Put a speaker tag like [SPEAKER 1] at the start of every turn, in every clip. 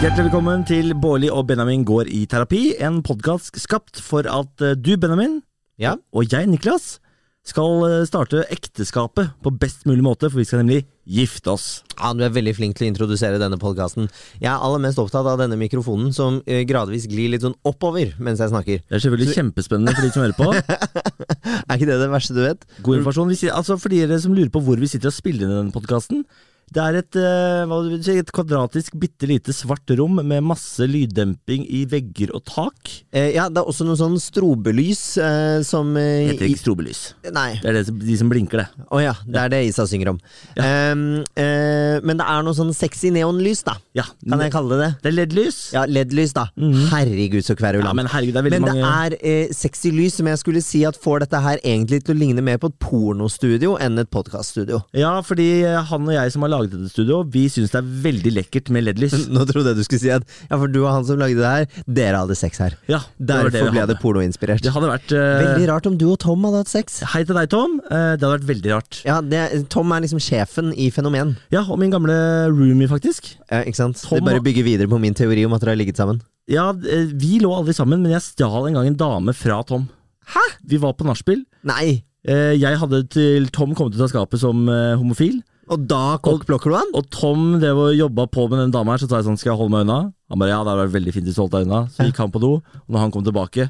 [SPEAKER 1] Hjertelig velkommen til Bårli og Benjamin går i terapi, en podkast skapt for at eh, du, Benjamin,
[SPEAKER 2] Ja.
[SPEAKER 1] og jeg, Niklas, skal eh, starte ekteskapet på best mulig måte, for vi skal nemlig gifte oss.
[SPEAKER 2] Ja, Du er veldig flink til å introdusere denne podkasten. Jeg er aller mest opptatt av denne mikrofonen som eh, gradvis glir litt sånn oppover mens jeg snakker.
[SPEAKER 1] Det er selvfølgelig kjempespennende for de som hører på.
[SPEAKER 2] Er ikke det det verste du vet?
[SPEAKER 1] God informasjon. Vi, sier- altså For dere som lurer på hvor vi sitter og spiller inn denne podkasten. Det er et, eh, hva vil du si, et kvadratisk, bitte lite svart rom med masse lyddemping i vegger og tak.
[SPEAKER 2] Eh, ja, det er også noe sånn strobelys eh, som eh,
[SPEAKER 1] Heter ikke strobelys.
[SPEAKER 2] i- Nei.
[SPEAKER 1] Det er det, som- de som blinker, det.
[SPEAKER 2] Å ja, det er det Isa synger om. Ehm, eh, men det er noe sånn sexy neonlys, da.
[SPEAKER 1] Ja,
[SPEAKER 2] Kan jeg kalle det det?
[SPEAKER 1] Det er LED-lys.
[SPEAKER 2] Ja, LED-lys, da. Herregud, så
[SPEAKER 1] Ja,
[SPEAKER 2] kverulant.
[SPEAKER 1] men herregud, det er veldig
[SPEAKER 2] Men det
[SPEAKER 1] mange
[SPEAKER 2] er eh, sexy lys som jeg skulle si at får dette her egentlig til å ligne mer på et pornostudio enn et podkaststudio.
[SPEAKER 1] Ja, fordi eh, han og jeg som har laget dette studio, vi syns det er veldig lekkert med LED-lys.
[SPEAKER 2] Nå trodde jeg du skulle si at Ja, for du og han som lagde det her, dere hadde sex her.
[SPEAKER 1] Ja, det var
[SPEAKER 2] Derfor
[SPEAKER 1] det vi
[SPEAKER 2] ble
[SPEAKER 1] hadde.
[SPEAKER 2] det pornoinspirert.
[SPEAKER 1] Det hadde vært eh,
[SPEAKER 2] Veldig rart om du og Tom hadde hatt sex.
[SPEAKER 1] Hei til deg, Tom. Eh, det hadde vært veldig rart.
[SPEAKER 2] Ja, det, Tom er liksom sjefen i fenomen.
[SPEAKER 1] Ja, og min gamle roomie, faktisk.
[SPEAKER 2] Ja, ikke sant?
[SPEAKER 1] Tom
[SPEAKER 2] det
[SPEAKER 1] og-
[SPEAKER 2] bare bygger videre på min teori om at dere har ligget sammen.
[SPEAKER 1] Ja, eh, Vi lå aldri sammen, men jeg stjal en gang en dame fra Tom.
[SPEAKER 2] Hæ?
[SPEAKER 1] Vi var på nachspiel.
[SPEAKER 2] Nei!
[SPEAKER 1] Eh, jeg hadde til Tom kommet ut av skapet som eh, homofil.
[SPEAKER 2] Og da kokkblokker du han?
[SPEAKER 1] Og Tom det var jobba på med den dama her, så sa jeg sånn, skal jeg holde meg unna? Han bare ja, det hadde vært veldig fint hvis du holdt deg unna. Så gikk han på do, og når han kom tilbake,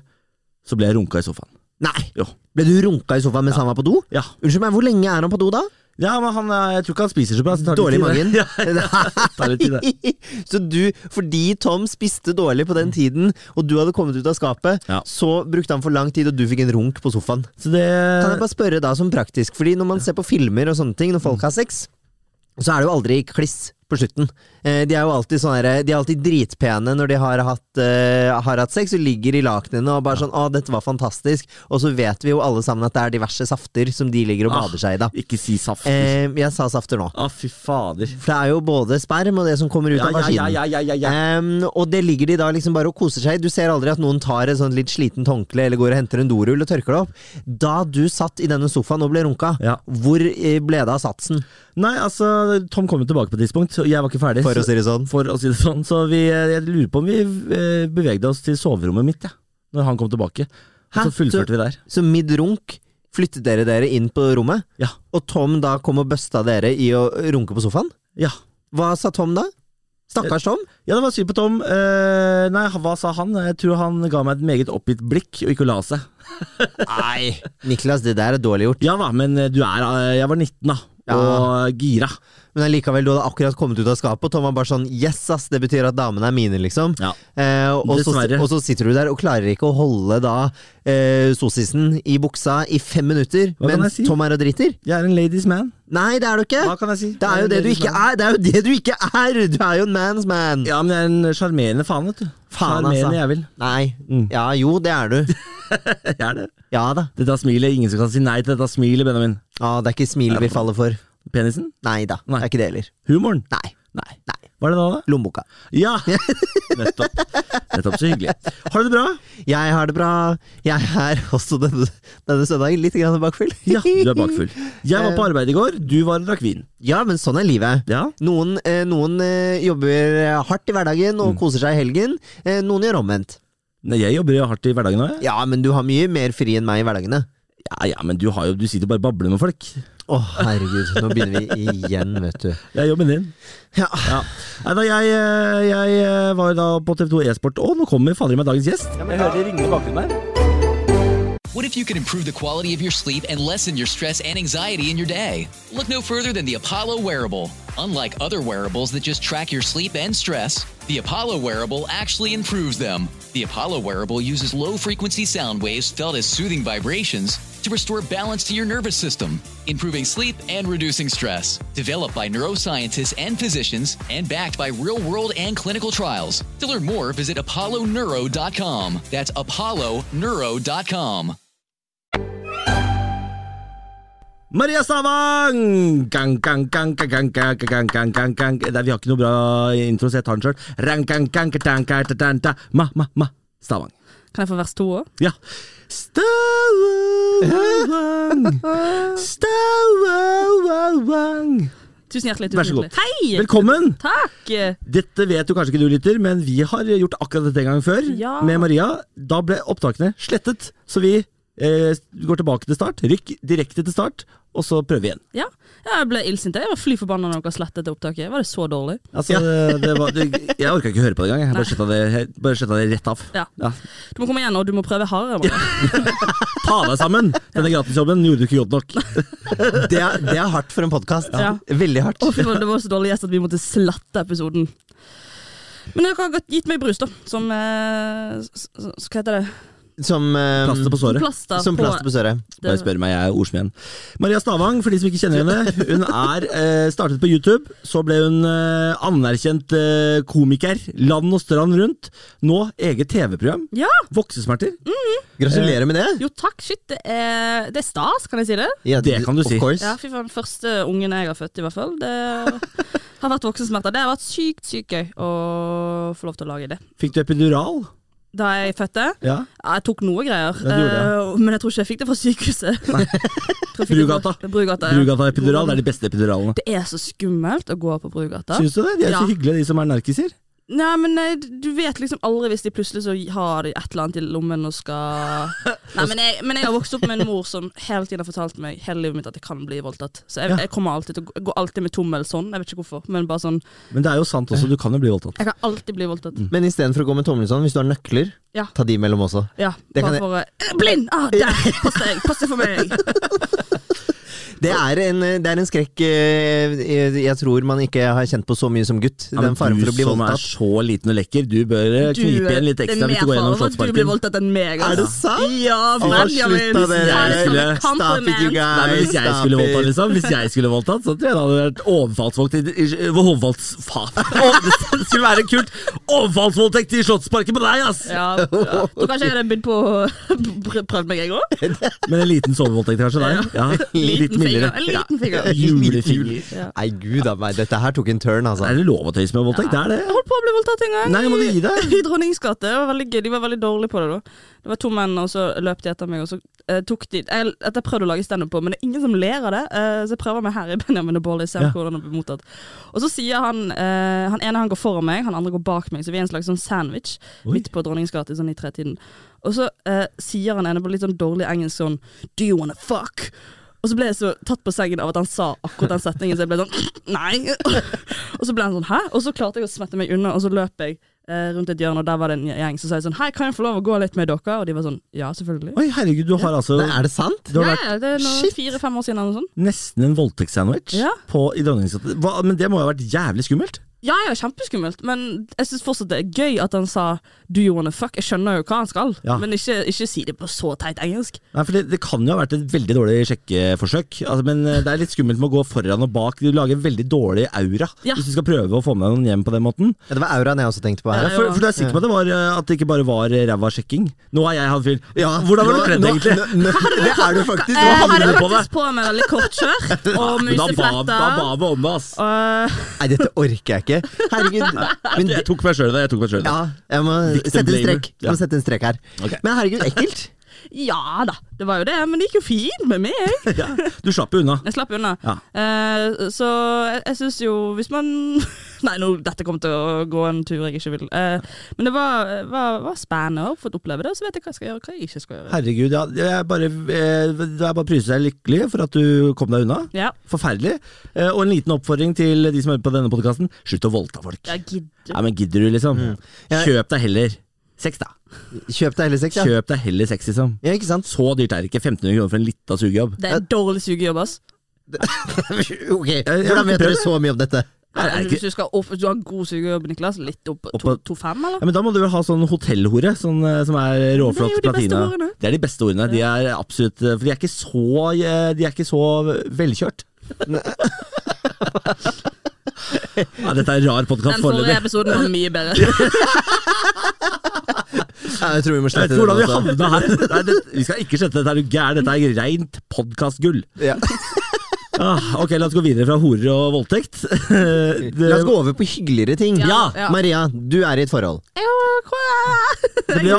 [SPEAKER 1] så ble jeg runka i sofaen.
[SPEAKER 2] Nei!
[SPEAKER 1] Jo.
[SPEAKER 2] Ble du runka i sofaen mens han var på do?
[SPEAKER 1] Ja,
[SPEAKER 2] Unnskyld meg, hvor lenge er han på do da?
[SPEAKER 1] Ja, men han, er- jeg tror ikke han spiser så bra. Så det tar litt
[SPEAKER 2] Dårlig i
[SPEAKER 1] tid,
[SPEAKER 2] magen?
[SPEAKER 1] det. Ja, tar litt tid, det.
[SPEAKER 2] så du, fordi Tom spiste dårlig på den tiden, og du hadde kommet ut av skapet,
[SPEAKER 1] Ja.
[SPEAKER 2] så brukte han for lang tid, og du fikk en runk på sofaen.
[SPEAKER 1] Så det
[SPEAKER 2] Kan jeg bare spørre da som praktisk, fordi når man ser på filmer og sånne ting, når folk har sex, så er det jo aldri kliss på slutten. Eh, De er jo alltid sånn herre- De er alltid dritpene når de har hatt, eh, har hatt sex og ligger i lakenene og bare sånn 'Å, dette var fantastisk', og så vet vi jo alle sammen at det er diverse safter som de ligger og
[SPEAKER 1] Ah.
[SPEAKER 2] bader seg i, da.
[SPEAKER 1] Ikke si saft. Å,
[SPEAKER 2] Eh, Jeg sa safter nå.
[SPEAKER 1] fy fader.
[SPEAKER 2] For det er jo både sperm og det som kommer ut
[SPEAKER 1] Ja,
[SPEAKER 2] av
[SPEAKER 1] ja,
[SPEAKER 2] maskinen.
[SPEAKER 1] ja, ja, ja, ja, ja.
[SPEAKER 2] Ehm, og det ligger de da liksom bare og koser seg i. Du ser aldri at noen tar et sånt litt sliten håndkle eller går og henter en dorull og tørker det opp. Da du satt i denne sofaen og ble runka,
[SPEAKER 1] Ja.
[SPEAKER 2] hvor eh, ble det av satsen?
[SPEAKER 1] Nei, altså, Tom kom jo tilbake på et tidspunkt, og jeg var ikke ferdig. så,
[SPEAKER 2] si det sånn.
[SPEAKER 1] for å si det sånn. Så vi, jeg lurer på om vi eh, bevegde oss til soverommet mitt, ja, når han kom tilbake. Og
[SPEAKER 2] Hæ?
[SPEAKER 1] så fullførte vi der.
[SPEAKER 2] Så midd runk flyttet dere dere inn på rommet,
[SPEAKER 1] Ja.
[SPEAKER 2] og Tom da kom og busta dere i å runke på sofaen.
[SPEAKER 1] Ja.
[SPEAKER 2] Hva sa Tom da? Stakkars Tom.
[SPEAKER 1] ja, det var synd på Tom. Eh, nei, hva sa han? Jeg tror han ga meg et meget oppgitt blikk og ikke la seg.
[SPEAKER 2] Nei! Niklas, det der er dårlig gjort.
[SPEAKER 1] Ja da, men eh, du er eh, Jeg var 19, da.
[SPEAKER 2] Ja.
[SPEAKER 1] Og gira.
[SPEAKER 2] Men allikevel, du hadde akkurat kommet ut av skapet, og Tom var bare sånn Yes, ass, det betyr at damene er mine, liksom.
[SPEAKER 1] Ja.
[SPEAKER 2] Eh, og, så,
[SPEAKER 1] Dessverre.
[SPEAKER 2] og så sitter du der og klarer ikke å holde da eh, sossisen i buksa i fem minutter,
[SPEAKER 1] Hva kan
[SPEAKER 2] mens
[SPEAKER 1] jeg si?
[SPEAKER 2] Tom er og driter.
[SPEAKER 1] Jeg er en ladies man.
[SPEAKER 2] Nei, det er du ikke!
[SPEAKER 1] Hva kan jeg si? sånn.
[SPEAKER 2] Det er jo det du ikke er! Det er jo det du ikke er! Du er jo en man's man!
[SPEAKER 1] Ja, men jeg er en sjarmerende faen, vet du.
[SPEAKER 2] Faen,
[SPEAKER 1] Sjarmerende
[SPEAKER 2] altså.
[SPEAKER 1] jævel.
[SPEAKER 2] Nei.
[SPEAKER 1] Mm.
[SPEAKER 2] Ja, jo, det er du.
[SPEAKER 1] Jeg er det.
[SPEAKER 2] Ja da.
[SPEAKER 1] Dette smilet, ingen som kan si nei til dette smilet, Benjamin.
[SPEAKER 2] Ja, det er ikke smil vi faller for.
[SPEAKER 1] Penisen?
[SPEAKER 2] Nei da.
[SPEAKER 1] Nei.
[SPEAKER 2] Det er ikke det heller.
[SPEAKER 1] Humoren?
[SPEAKER 2] Nei.
[SPEAKER 1] Nei.
[SPEAKER 2] Nei.
[SPEAKER 1] Hva er det da, da?
[SPEAKER 2] Lommeboka.
[SPEAKER 1] Ja! Nettopp. Nettopp, så hyggelig. Har du det bra?
[SPEAKER 2] Jeg har det bra. Jeg er også denne, denne søndagen litt grann bakfull.
[SPEAKER 1] Ja, du er bakfull. Jeg var på arbeid i går, du var og drakk vin.
[SPEAKER 2] Ja, men sånn er livet.
[SPEAKER 1] Eh. Ja.
[SPEAKER 2] Noen, eh, noen eh, jobber hardt i hverdagen og koser seg i helgen. Eh, noen gjør omvendt.
[SPEAKER 1] Nei, jeg jobber jo hardt i hverdagen nå, jeg.
[SPEAKER 2] Ja, men du har mye mer fri enn meg i hverdagene.
[SPEAKER 1] Ja, ja, men du, har jo, du sitter og bare og babler med folk.
[SPEAKER 2] Å, herregud. Nå begynner vi igjen, vet du.
[SPEAKER 1] Det er jobben din.
[SPEAKER 2] Ja.
[SPEAKER 1] Ja. Nei da, jeg, eh, jeg eh, var da på TV2 E-sport, og nå kommer fader meg dagens gjest. Jeg hører de ringer i bakgrunnen her.
[SPEAKER 3] What if you could improve the quality of your sleep and lessen your stress and anxiety in your day? Look no further than the Apollo wearable. Unlike other wearables that just track your sleep and stress, the Apollo wearable actually improves them. The Apollo wearable uses low frequency sound waves felt as soothing vibrations to restore balance to your nervous system, improving sleep and reducing stress. Developed by neuroscientists and physicians and backed by real world and clinical trials. To learn more, visit apolloneuro.com. That's apolloneuro.com.
[SPEAKER 1] Maria Stavang! Gang, gang, gang, gang, gang, gang, gang, gang, gang, gang. Eh, Nei, vi har ikke noe bra intro, så jeg tar den sjøl. Rang, gang, gang, gang, gang, gang, gang, Ma, ma, ma. Stavang.
[SPEAKER 4] Kan jeg få vers to òg?
[SPEAKER 1] Ja. Stavang, Stavang
[SPEAKER 4] Tusen hjertelig. tusen
[SPEAKER 1] Vær så god.
[SPEAKER 4] hjertelig. Hei!
[SPEAKER 1] Velkommen!
[SPEAKER 4] Takk!
[SPEAKER 1] Dette vet jo kanskje ikke du, lytter, men vi har gjort akkurat dette en gang før
[SPEAKER 4] Ja.
[SPEAKER 1] med Maria. Da ble opptakene slettet, så vi eh, går tilbake til start. Rykk direkte til start, og så prøve igjen.
[SPEAKER 4] Ja, jeg ble illsint. Jeg var fly forbanna når dere slettet det opptaket. Var det så dårlig?
[SPEAKER 1] Altså, det, det var, det, jeg orka ikke høre på det engang. Jeg bare sletta det, jeg bare sletta det rett av.
[SPEAKER 4] Ja.
[SPEAKER 1] Ja.
[SPEAKER 4] Du må komme igjen, og du må prøve hardere. Maria.
[SPEAKER 1] Ta deg sammen! Denne gratisjobben gjorde du ikke godt nok.
[SPEAKER 2] Det er, det er hardt for en podkast.
[SPEAKER 4] Ja.
[SPEAKER 2] Veldig hardt.
[SPEAKER 4] Å, fy faen, det var så dårlig gjest at vi måtte slette episoden. Men dere har godt gitt meg brus, da. Som eh, s- s- Hva heter det?
[SPEAKER 2] Som, eh,
[SPEAKER 1] Plaster på såret.
[SPEAKER 4] Plaster.
[SPEAKER 2] som plaster på såret.
[SPEAKER 4] det-
[SPEAKER 1] Bare spør meg, jeg er ordsmeden. Maria Stavang, for de som ikke kjenner henne, hun er eh, startet på YouTube. Så ble hun eh, anerkjent eh, komiker land og strand rundt. Nå eget TV-program.
[SPEAKER 4] Ja!
[SPEAKER 1] Voksesmerter.
[SPEAKER 2] Gratulerer med det.
[SPEAKER 4] Jo takk, shit. Det er, det er stas, kan jeg si det?
[SPEAKER 2] Ja,
[SPEAKER 1] Det kan du
[SPEAKER 2] of
[SPEAKER 1] si.
[SPEAKER 2] course.
[SPEAKER 4] Ja, fy faen. Første ungen jeg har født, i hvert fall. Det har vært voksensmerter. Det har vært sykt, sykt gøy å få lov til å lage det.
[SPEAKER 1] Fikk du epidural?
[SPEAKER 4] Da jeg fødte
[SPEAKER 1] Ja.
[SPEAKER 4] Ja, Jeg tok noe greier,
[SPEAKER 1] Ja, du gjorde
[SPEAKER 4] eh, men jeg tror ikke jeg fikk det fra sykehuset. Jeg tror jeg fikk det fra-
[SPEAKER 1] Brugata.
[SPEAKER 4] Brugata, ja.
[SPEAKER 1] Brugata epidural, det er de beste epiduralene.
[SPEAKER 4] Det er så skummelt å gå på Brugata.
[SPEAKER 1] Syns du det? De er så
[SPEAKER 4] Ja.
[SPEAKER 1] hyggelige, de som er narkiser.
[SPEAKER 4] Nei, men eh, du vet liksom aldri hvis de plutselig så har de et eller annet i lommen og skal Nei, men jeg, men jeg har vokst opp med en mor som hele tiden har fortalt meg hele livet mitt at jeg kan bli voldtatt. Så jeg,
[SPEAKER 1] Ja.
[SPEAKER 4] jeg kommer alltid til å gå- jeg går alltid med tommel sånn, jeg vet ikke hvorfor, men bare sånn
[SPEAKER 1] Men det er jo sant også, du kan jo bli voldtatt.
[SPEAKER 4] Jeg kan alltid bli
[SPEAKER 1] Mm.
[SPEAKER 4] voldtatt.
[SPEAKER 2] Men istedenfor å gå med tommelen sånn, hvis du har nøkler,
[SPEAKER 4] Ja.
[SPEAKER 2] ta de mellom også.
[SPEAKER 4] Ja,
[SPEAKER 2] Det kan jeg-
[SPEAKER 4] bare for eh, Blind! Ah, der! Pass deg! Pass deg for meg!
[SPEAKER 2] Det er en, eh, det er en skrekk eh, jeg jeg tror man ikke har kjent på så mye som gutt.
[SPEAKER 1] Ja, men
[SPEAKER 2] den faren for å bli
[SPEAKER 1] Du som er
[SPEAKER 2] voldtatt.
[SPEAKER 1] så liten og lekker, du bør eh, knipe igjen litt
[SPEAKER 4] det er
[SPEAKER 1] ekstra hvis
[SPEAKER 4] mer
[SPEAKER 1] du går gjennom
[SPEAKER 4] fare for at Du blir
[SPEAKER 1] Slottsparken.
[SPEAKER 4] voldtatt enn meg, altså.
[SPEAKER 2] Er det sant?
[SPEAKER 4] Ja,
[SPEAKER 2] Å,
[SPEAKER 4] Benjamin!
[SPEAKER 2] slutt da, dere.
[SPEAKER 4] Ta det som en
[SPEAKER 2] Stop it, you
[SPEAKER 4] compliment.
[SPEAKER 1] Nei, men
[SPEAKER 2] guys.
[SPEAKER 1] hvis jeg
[SPEAKER 2] Stop
[SPEAKER 1] skulle voldtatt,
[SPEAKER 2] it.
[SPEAKER 1] liksom Hvis jeg skulle voldtatt, så tror jeg det hadde vært overfallsvoldtekt i- i- Overfalls... Faen! Å, Det skulle være kult! Overfallsvoldtekt i Slottsparken på deg, ass!
[SPEAKER 4] Ja, ja. Tror kanskje jeg hadde begynt på prø- prøvd meg, jeg òg.
[SPEAKER 1] Men en liten sovevoldtekt kanskje der? Ja, litt mildere.
[SPEAKER 4] En liten finger.
[SPEAKER 1] Ja. Julefinger.
[SPEAKER 2] Nei, gud a meg, dette her tok en turn, altså.
[SPEAKER 1] Er det lov å tøyse med voldtekt? Det er det.
[SPEAKER 4] Jeg holdt på å bli voldtatt en gang.
[SPEAKER 1] Nei, må du gi deg?
[SPEAKER 4] I Dronningens gate. Det var veldig gøy. De var veldig dårlige på det da. Det var to menn, og så løp de etter meg, og så eh, tok de jeg, Dette har jeg prøvd å lage standup på, men det er ingen som ler av det, eh, så jeg prøver meg her i Benjamin og Bolly, ser
[SPEAKER 1] Ja.
[SPEAKER 4] hvordan det blir mottatt. Og så sier han eh, Han ene han går foran meg, han andre går bak meg, så vi er en slags sånn sandwich
[SPEAKER 1] Oi.
[SPEAKER 4] midt på Dronningens gate, sånn i tretiden. Og så eh, sier han ene på litt sånn dårlig engelsk sånn Do you wanna fuck? Og så ble jeg så tatt på sengen av at han sa akkurat den setningen, så jeg ble sånn Nei! Og så ble han sånn hæ? Og så klarte jeg å smette meg unna, og så løp jeg eh, rundt et hjørne, og der var det en gjeng som sa sånn hei, kan jeg få lov å gå litt med dere? Og de var sånn ja, selvfølgelig.
[SPEAKER 1] Oi, herregud, du har altså
[SPEAKER 2] Nei, er det sant?
[SPEAKER 1] Du har
[SPEAKER 4] Nei,
[SPEAKER 1] vært
[SPEAKER 4] det er
[SPEAKER 2] Shit.
[SPEAKER 4] noe fire-fem år siden eller noe sånt.
[SPEAKER 1] nesten en voldtektssandwich
[SPEAKER 4] Ja.
[SPEAKER 1] på- i Dronningsgata. Hva- Men det må jo ha vært jævlig skummelt?
[SPEAKER 4] Ja, ja, kjempeskummelt, men jeg syns fortsatt det er gøy at han sa do you wanna fuck? Jeg skjønner jo hva han skal,
[SPEAKER 1] Ja.
[SPEAKER 4] men ikke, ikke si det på så teit engelsk.
[SPEAKER 1] Nei, for det, det kan jo ha vært et veldig dårlig sjekkeforsøk. Altså, men eh, det er litt skummelt med å gå foran og bak. Du lager en veldig dårlig aura
[SPEAKER 4] Ja.
[SPEAKER 1] hvis du skal prøve å få med deg noen hjem på den måten.
[SPEAKER 2] Ja, det var auraen jeg også tenkte på
[SPEAKER 1] Ja,
[SPEAKER 2] her.
[SPEAKER 1] for, for du er sikker på at det, var, eh, at det ikke bare var eh, ræva sjekking? Nå har jeg hatt fyr. Ja, hvordan var du
[SPEAKER 2] Nå-
[SPEAKER 1] kledd,
[SPEAKER 2] nå-
[SPEAKER 1] egentlig?
[SPEAKER 2] nå- nå- Det er du faktisk.
[SPEAKER 4] Jeg
[SPEAKER 1] hadde
[SPEAKER 4] hadde
[SPEAKER 1] du Eh, på
[SPEAKER 4] Eh, faktisk på meg veldig kort skjørt og
[SPEAKER 1] Da ba, da
[SPEAKER 4] musefletter. Eh,
[SPEAKER 1] ba vi om det, ass.
[SPEAKER 4] og-
[SPEAKER 2] Nei, dette orker jeg ikke. Herregud. Men det,
[SPEAKER 1] Jeg tok meg sjøl i det. Jeg tok meg selv i det.
[SPEAKER 2] ja, jeg må
[SPEAKER 1] Victim
[SPEAKER 2] sette en
[SPEAKER 1] blamer.
[SPEAKER 2] strek. Jeg må sette en strek her.
[SPEAKER 1] Ok.
[SPEAKER 2] Men herregud, ekkelt.
[SPEAKER 4] ja da, det var jo det, men det gikk jo fint med meg.
[SPEAKER 1] Ja. Du slapp jo unna.
[SPEAKER 4] Jeg slapp unna.
[SPEAKER 1] Ja.
[SPEAKER 4] Eh, så jeg, jeg syns jo Hvis man Nei, nå, dette kommer til å gå en tur jeg ikke vil. Eh, men det var, var, var spennende å få oppleve det, og så vet jeg hva jeg skal gjøre og hva jeg ikke skal gjøre.
[SPEAKER 1] Herregud, ja. Jeg bare, eh, det er bare å pryse deg lykkelig for at du kom deg unna.
[SPEAKER 4] Ja,
[SPEAKER 1] Forferdelig. Eh, Og en liten oppfordring til de som hører på denne podkasten. Slutt å voldta folk.
[SPEAKER 4] jeg gidder.
[SPEAKER 1] Ja, men gidder du, liksom?
[SPEAKER 2] Ja.
[SPEAKER 1] Kjøp deg heller sex, da.
[SPEAKER 2] Kjøp deg heller sex, ja.
[SPEAKER 1] Kjøp deg heller sex, liksom.
[SPEAKER 2] Ja, ikke sant?
[SPEAKER 1] Så dyrt er det ikke. 1500 kroner for en lita sugejobb.
[SPEAKER 4] Det er en dårlig sugejobb, ass.
[SPEAKER 2] Ok, Hvordan vet dere så mye om dette?
[SPEAKER 1] Er det
[SPEAKER 4] Altså,
[SPEAKER 1] ikke-
[SPEAKER 4] hvis du, skal opp, du har en god sugejobb, Niklas. Litt opp
[SPEAKER 1] Opp
[SPEAKER 4] to-
[SPEAKER 1] på-
[SPEAKER 4] 2,5, eller?
[SPEAKER 1] Ja, men Da må du vel ha sånn hotellhore, sånn, eh, som er råflott
[SPEAKER 4] Det er jo de beste
[SPEAKER 1] platina.
[SPEAKER 4] ordene.
[SPEAKER 1] Det er de beste ordene. De er absolutt eh, For de er ikke så, eh, de er ikke så velkjørt. ja, dette er en rar podkast
[SPEAKER 4] Den forrige
[SPEAKER 1] foreløpig.
[SPEAKER 4] episoden var mye bedre.
[SPEAKER 2] Ja, jeg tror vi må
[SPEAKER 1] Jeg vet
[SPEAKER 2] slette altså.
[SPEAKER 1] ikke hvordan vi
[SPEAKER 2] den også.
[SPEAKER 1] havna her. Nei, det, vi skal ikke slette dette, er du gæren? Dette er rent podkastgull.
[SPEAKER 2] Ja.
[SPEAKER 1] Ah, ok, la oss gå videre fra horer og voldtekt. Det-
[SPEAKER 2] La oss gå over på hyggeligere ting.
[SPEAKER 4] Ja, ja.
[SPEAKER 2] Maria, du er i et forhold.
[SPEAKER 1] Det ble,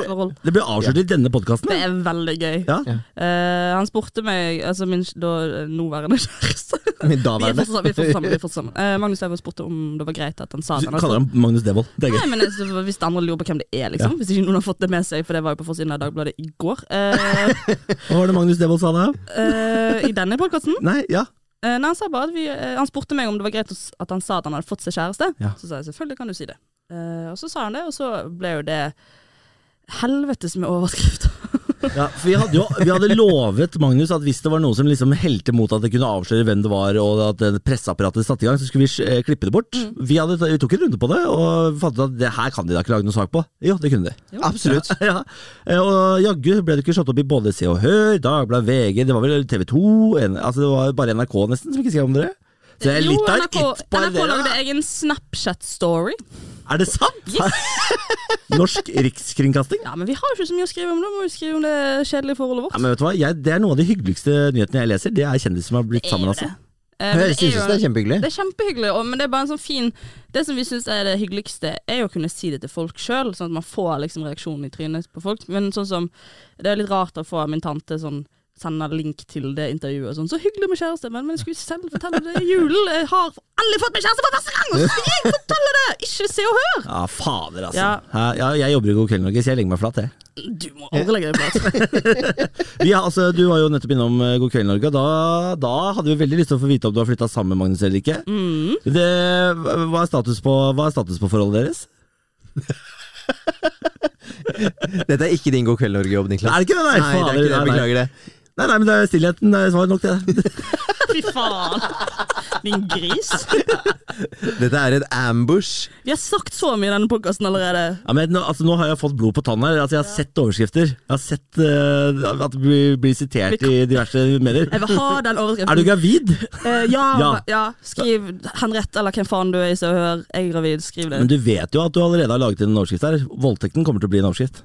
[SPEAKER 1] det ble avslørt i denne podkasten.
[SPEAKER 4] Det er veldig gøy.
[SPEAKER 1] Ja.
[SPEAKER 4] Eh, han spurte meg, altså min da, nåværende kjæreste
[SPEAKER 2] Min
[SPEAKER 4] Vi er
[SPEAKER 2] daværende.
[SPEAKER 4] fortsatt vi er fortsatt sammen. Vi er fortsatt sammen. Eh, Magnus Devold spurte om det var greit at han sa
[SPEAKER 1] Du
[SPEAKER 4] det.
[SPEAKER 1] kaller ham Magnus Devold. Det er
[SPEAKER 4] Nei,
[SPEAKER 1] gøy.
[SPEAKER 4] men altså, Hvis de andre lurer på hvem det er, liksom. Hvis ikke noen har fått det med seg, for det var jo på forsiden av Dagbladet i går. Eh,
[SPEAKER 1] Hva var det Magnus Devold sa da?
[SPEAKER 4] eh, I denne podkasten.
[SPEAKER 1] Nei, ja.
[SPEAKER 4] Eh, nei, han, sa bare at vi, eh, han spurte meg om det var greit å s- at han sa at han hadde fått seg kjæreste.
[SPEAKER 1] Ja.
[SPEAKER 4] Så sa jeg selvfølgelig kan du si det. Eh, og så sa han det, og så ble jo det helvetes med overskrift.
[SPEAKER 1] Ja, for vi hadde jo vi hadde lovet Magnus at hvis det var noe som liksom helte mot at det kunne avsløre hvem det var, og at det presseapparatet satte i gang, så skulle vi eh, klippe det bort.
[SPEAKER 4] Mm.
[SPEAKER 1] Vi, hadde, vi tok en runde på det, og fant ut at det her kan de da ikke lage noen sak på. Jo, det kunne de.
[SPEAKER 2] Absolutt.
[SPEAKER 1] Ja, eh, og jaggu ble det ikke slått opp i både Se og Hør, Dagbladet, VG, det var vel TV 2 en, Altså det var bare NRK nesten som ikke skrev om dere. Så det er
[SPEAKER 4] Jo,
[SPEAKER 1] litt av et
[SPEAKER 4] NRK,
[SPEAKER 1] ett par
[SPEAKER 4] NRK
[SPEAKER 1] dere.
[SPEAKER 4] lagde egen Snapchat-story.
[SPEAKER 1] Er det sant? Norsk rikskringkasting?
[SPEAKER 4] Ja, Men vi har jo ikke så mye å skrive om, da må vi skrive om det kjedelige forholdet vårt.
[SPEAKER 1] Ja, men vet du hva? Jeg, det er noen av de hyggeligste nyhetene jeg leser. Det er kjendiser som har blitt
[SPEAKER 4] Det er
[SPEAKER 1] sammen.
[SPEAKER 4] jo
[SPEAKER 1] Altså.
[SPEAKER 4] det. Eh,
[SPEAKER 2] Jeg
[SPEAKER 4] men det er
[SPEAKER 2] synes
[SPEAKER 4] jo-
[SPEAKER 2] det er kjempehyggelig.
[SPEAKER 4] Det er kjempehyggelig, og, men det er bare en sånn fin Det som vi syns er det hyggeligste, er jo å kunne si det til folk sjøl, sånn at man får liksom reaksjonen i trynet på folk. Men sånn som Det er litt rart å få min tante sånn sender link til det intervjuet og sånn. Så hyggelig med kjæreste, men, men jeg skulle selv fortelle det i julen. Jeg har endelig fått meg kjæreste for første gang, og så skal jeg fortelle det! Ikke se og hør!
[SPEAKER 1] Ja, fader, altså.
[SPEAKER 4] Ja.
[SPEAKER 1] Ja. Ja, jeg jobber i God kveld, Norge, så jeg legger meg flat, jeg.
[SPEAKER 4] Du må aldri legge deg flat.
[SPEAKER 1] Vi har- altså, du var jo nettopp innom eh, God kveld, Norge, og da, da hadde vi veldig lyst til å få vite om du har flytta sammen med Magnus eller ikke.
[SPEAKER 4] Mm.
[SPEAKER 1] Det, hva, er status på, hva er status på forholdet deres?
[SPEAKER 2] Dette er ikke din God kveld Norge-jobb, Niklas.
[SPEAKER 1] Er det ikke det? Nei,
[SPEAKER 2] Nei, det er
[SPEAKER 1] fader,
[SPEAKER 2] ikke det.
[SPEAKER 1] nei, nei.
[SPEAKER 2] Beklager det.
[SPEAKER 1] Nei, nei, men det er stillheten. Det er svar nok, det.
[SPEAKER 4] Fy faen. Din gris.
[SPEAKER 2] Dette er en ambush.
[SPEAKER 4] Vi har sagt så mye i denne podkasten allerede.
[SPEAKER 1] Ja, men, nå- altså, nå har jeg fått blod på tann her. Altså, jeg har sett overskrifter. Jeg har sett eh, at det blir, blir sitert i diverse medier.
[SPEAKER 4] Jeg vil ha den overskriften.
[SPEAKER 1] Er du gravid?
[SPEAKER 4] Eh, ja,
[SPEAKER 1] Ja.
[SPEAKER 4] ja. skriv Henriette eller hvem faen du er i Se og Hør. Jeg er gravid, skriv det.
[SPEAKER 1] Men du vet jo at du allerede har laget en overskrift her. Voldtekten kommer til å bli en overskrift.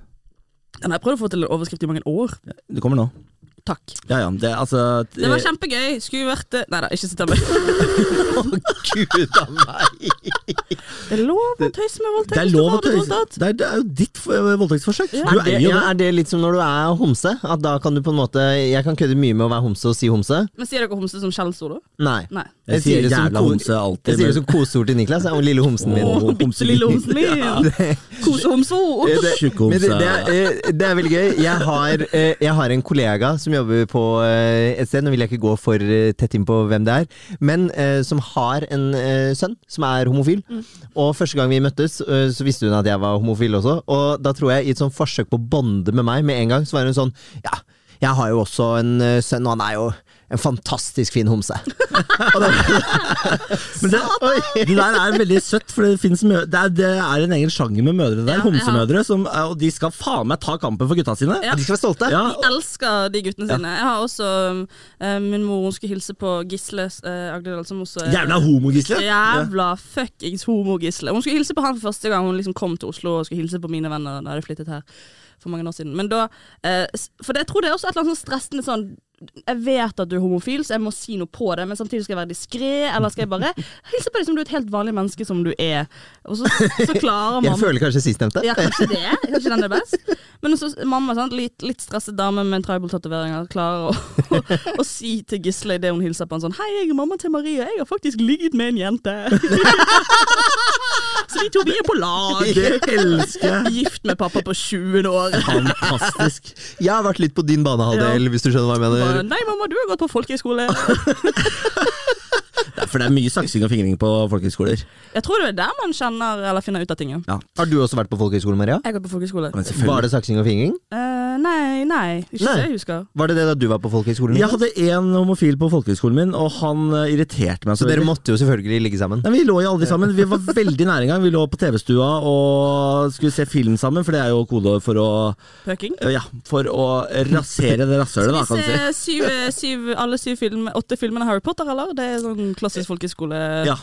[SPEAKER 4] Den har jeg prøvd å få til en overskrift i mange år.
[SPEAKER 1] Det kommer nå.
[SPEAKER 4] Takk.
[SPEAKER 1] Ja, ja, det, altså,
[SPEAKER 4] Det var
[SPEAKER 1] eh,
[SPEAKER 4] kjempegøy. Skulle vært det Nei da, ikke sitt der med.
[SPEAKER 2] Gud a meg.
[SPEAKER 4] Det er lov å tøyse med voldtekt.
[SPEAKER 1] det er
[SPEAKER 4] hvis du
[SPEAKER 1] lov å
[SPEAKER 4] har blitt
[SPEAKER 1] tøyse.
[SPEAKER 4] voldtatt.
[SPEAKER 1] Det er, det er jo ditt eh, voldtektsforsøk. Du
[SPEAKER 2] Er det,
[SPEAKER 1] eier jo
[SPEAKER 2] ja,
[SPEAKER 1] det.
[SPEAKER 2] er det litt som når du er homse? At da kan du på en måte Jeg kan kødde mye med å være homse og si homse.
[SPEAKER 4] Men sier dere homse som skjellsord, da?
[SPEAKER 2] Nei.
[SPEAKER 4] Nei.
[SPEAKER 1] Jeg sier
[SPEAKER 2] det som
[SPEAKER 1] jævla
[SPEAKER 2] ko-
[SPEAKER 1] homse alltid,
[SPEAKER 2] Jeg sier det
[SPEAKER 1] men-
[SPEAKER 2] som koseord til Niklas. Å, lille homsen min.
[SPEAKER 1] Åh.
[SPEAKER 4] Å,
[SPEAKER 1] homsen.
[SPEAKER 4] bitte lille homsen min. Kosehomso.
[SPEAKER 2] Eh, det-
[SPEAKER 1] Tjukk homse.
[SPEAKER 2] men det, det, er, eh, det er veldig gøy. Jeg har, eh, jeg har en kollega som jobber på eh, et sted, nå vil jeg ikke gå for eh, tett inn på hvem det er, men eh, som har en eh, sønn som er homofil. Og første gang vi møttes, eh, så visste hun at jeg var homofil også, og da tror jeg i et sånt forsøk på å bonde med meg med en gang, så var hun sånn Ja, jeg har jo også en eh, sønn, og han er jo en fantastisk fin homse. Og da-
[SPEAKER 1] Men det, det der er veldig søtt, for det, finnes mø det, er, det er en egen sjanger med mødre der.
[SPEAKER 4] Ja,
[SPEAKER 1] homsemødre. Som, er- og de skal faen meg ta kampen for gutta sine.
[SPEAKER 4] Ja.
[SPEAKER 2] de skal være stolte.
[SPEAKER 1] Ja,
[SPEAKER 4] Jeg elsker de guttene sine. Jeg har også eh, min mor hun skulle hilse på Gisle uh, Agderdal, som også er
[SPEAKER 1] Jævla homogisle!
[SPEAKER 4] Jævla fuckings homogisle. Hun skulle hilse på han for første gang hun liksom kom til Oslo og skulle hilse på mine venner da jeg flyttet her for mange år siden. Men da, eh, s- for det, jeg tror det er også et eller annet sånn stressende sånn jeg vet at du er homofil, så jeg må si noe på det, men samtidig skal jeg være diskré, eller skal jeg bare hilse på deg som du er et helt vanlig menneske som du er. Og så, så klarer
[SPEAKER 2] Jeg
[SPEAKER 4] man
[SPEAKER 2] føler kanskje sistnevnte.
[SPEAKER 4] ja, kanskje det. Kanskje den er best. Men også mamma, sant? Litt, litt stresset dame med tribal-tatoveringer, klarer å, å, å si til Gisle idet hun hilser på han sånn Hei, jeg er mamma til Maria. Jeg har faktisk ligget med en jente. Så vi to, vi er på lag.
[SPEAKER 1] Det elsker jeg!
[SPEAKER 4] Gift med pappa på 20. år.
[SPEAKER 1] Fantastisk.
[SPEAKER 2] Jeg har vært litt på din banehalvdel, hvis du skjønner hva jeg mener.
[SPEAKER 4] Bare, Nei, mamma, du har gått på folkehøyskole.
[SPEAKER 1] Det er- For det er mye saksing og fingring på folkehøyskoler.
[SPEAKER 4] Jeg tror det er der man kjenner eller finner ut av ting. ja.
[SPEAKER 2] Har du også vært på folkehøyskole, Maria?
[SPEAKER 4] Jeg har gått på folkehøyskole.
[SPEAKER 1] Men selvfølgelig.
[SPEAKER 2] Var det saksing og fingring?
[SPEAKER 4] Eh, nei, nei. Ikke så
[SPEAKER 2] Nei.
[SPEAKER 4] jeg husker.
[SPEAKER 2] Var det det da du var på folkehøyskolen?
[SPEAKER 1] Jeg hadde én homofil på folkehøyskolen min, og han eh, irriterte meg
[SPEAKER 2] Så
[SPEAKER 1] så
[SPEAKER 2] dere
[SPEAKER 1] veldig.
[SPEAKER 2] måtte jo selvfølgelig ligge sammen.
[SPEAKER 1] Nei, Vi lå jo aldri sammen. Vi var veldig nære en gang. Vi lå på TV-stua og skulle se film sammen, for det er jo kodeord for å eh,
[SPEAKER 4] Pøking.
[SPEAKER 1] Ja, for å rasere det rasshølet, da,
[SPEAKER 4] Vi
[SPEAKER 1] kan du si.
[SPEAKER 4] Eh, ser syv, syv, alle syv film, åtte filmene Harry Potter, eller? Det er sånn klassisk Norges folkehøgskole.
[SPEAKER 1] Ja,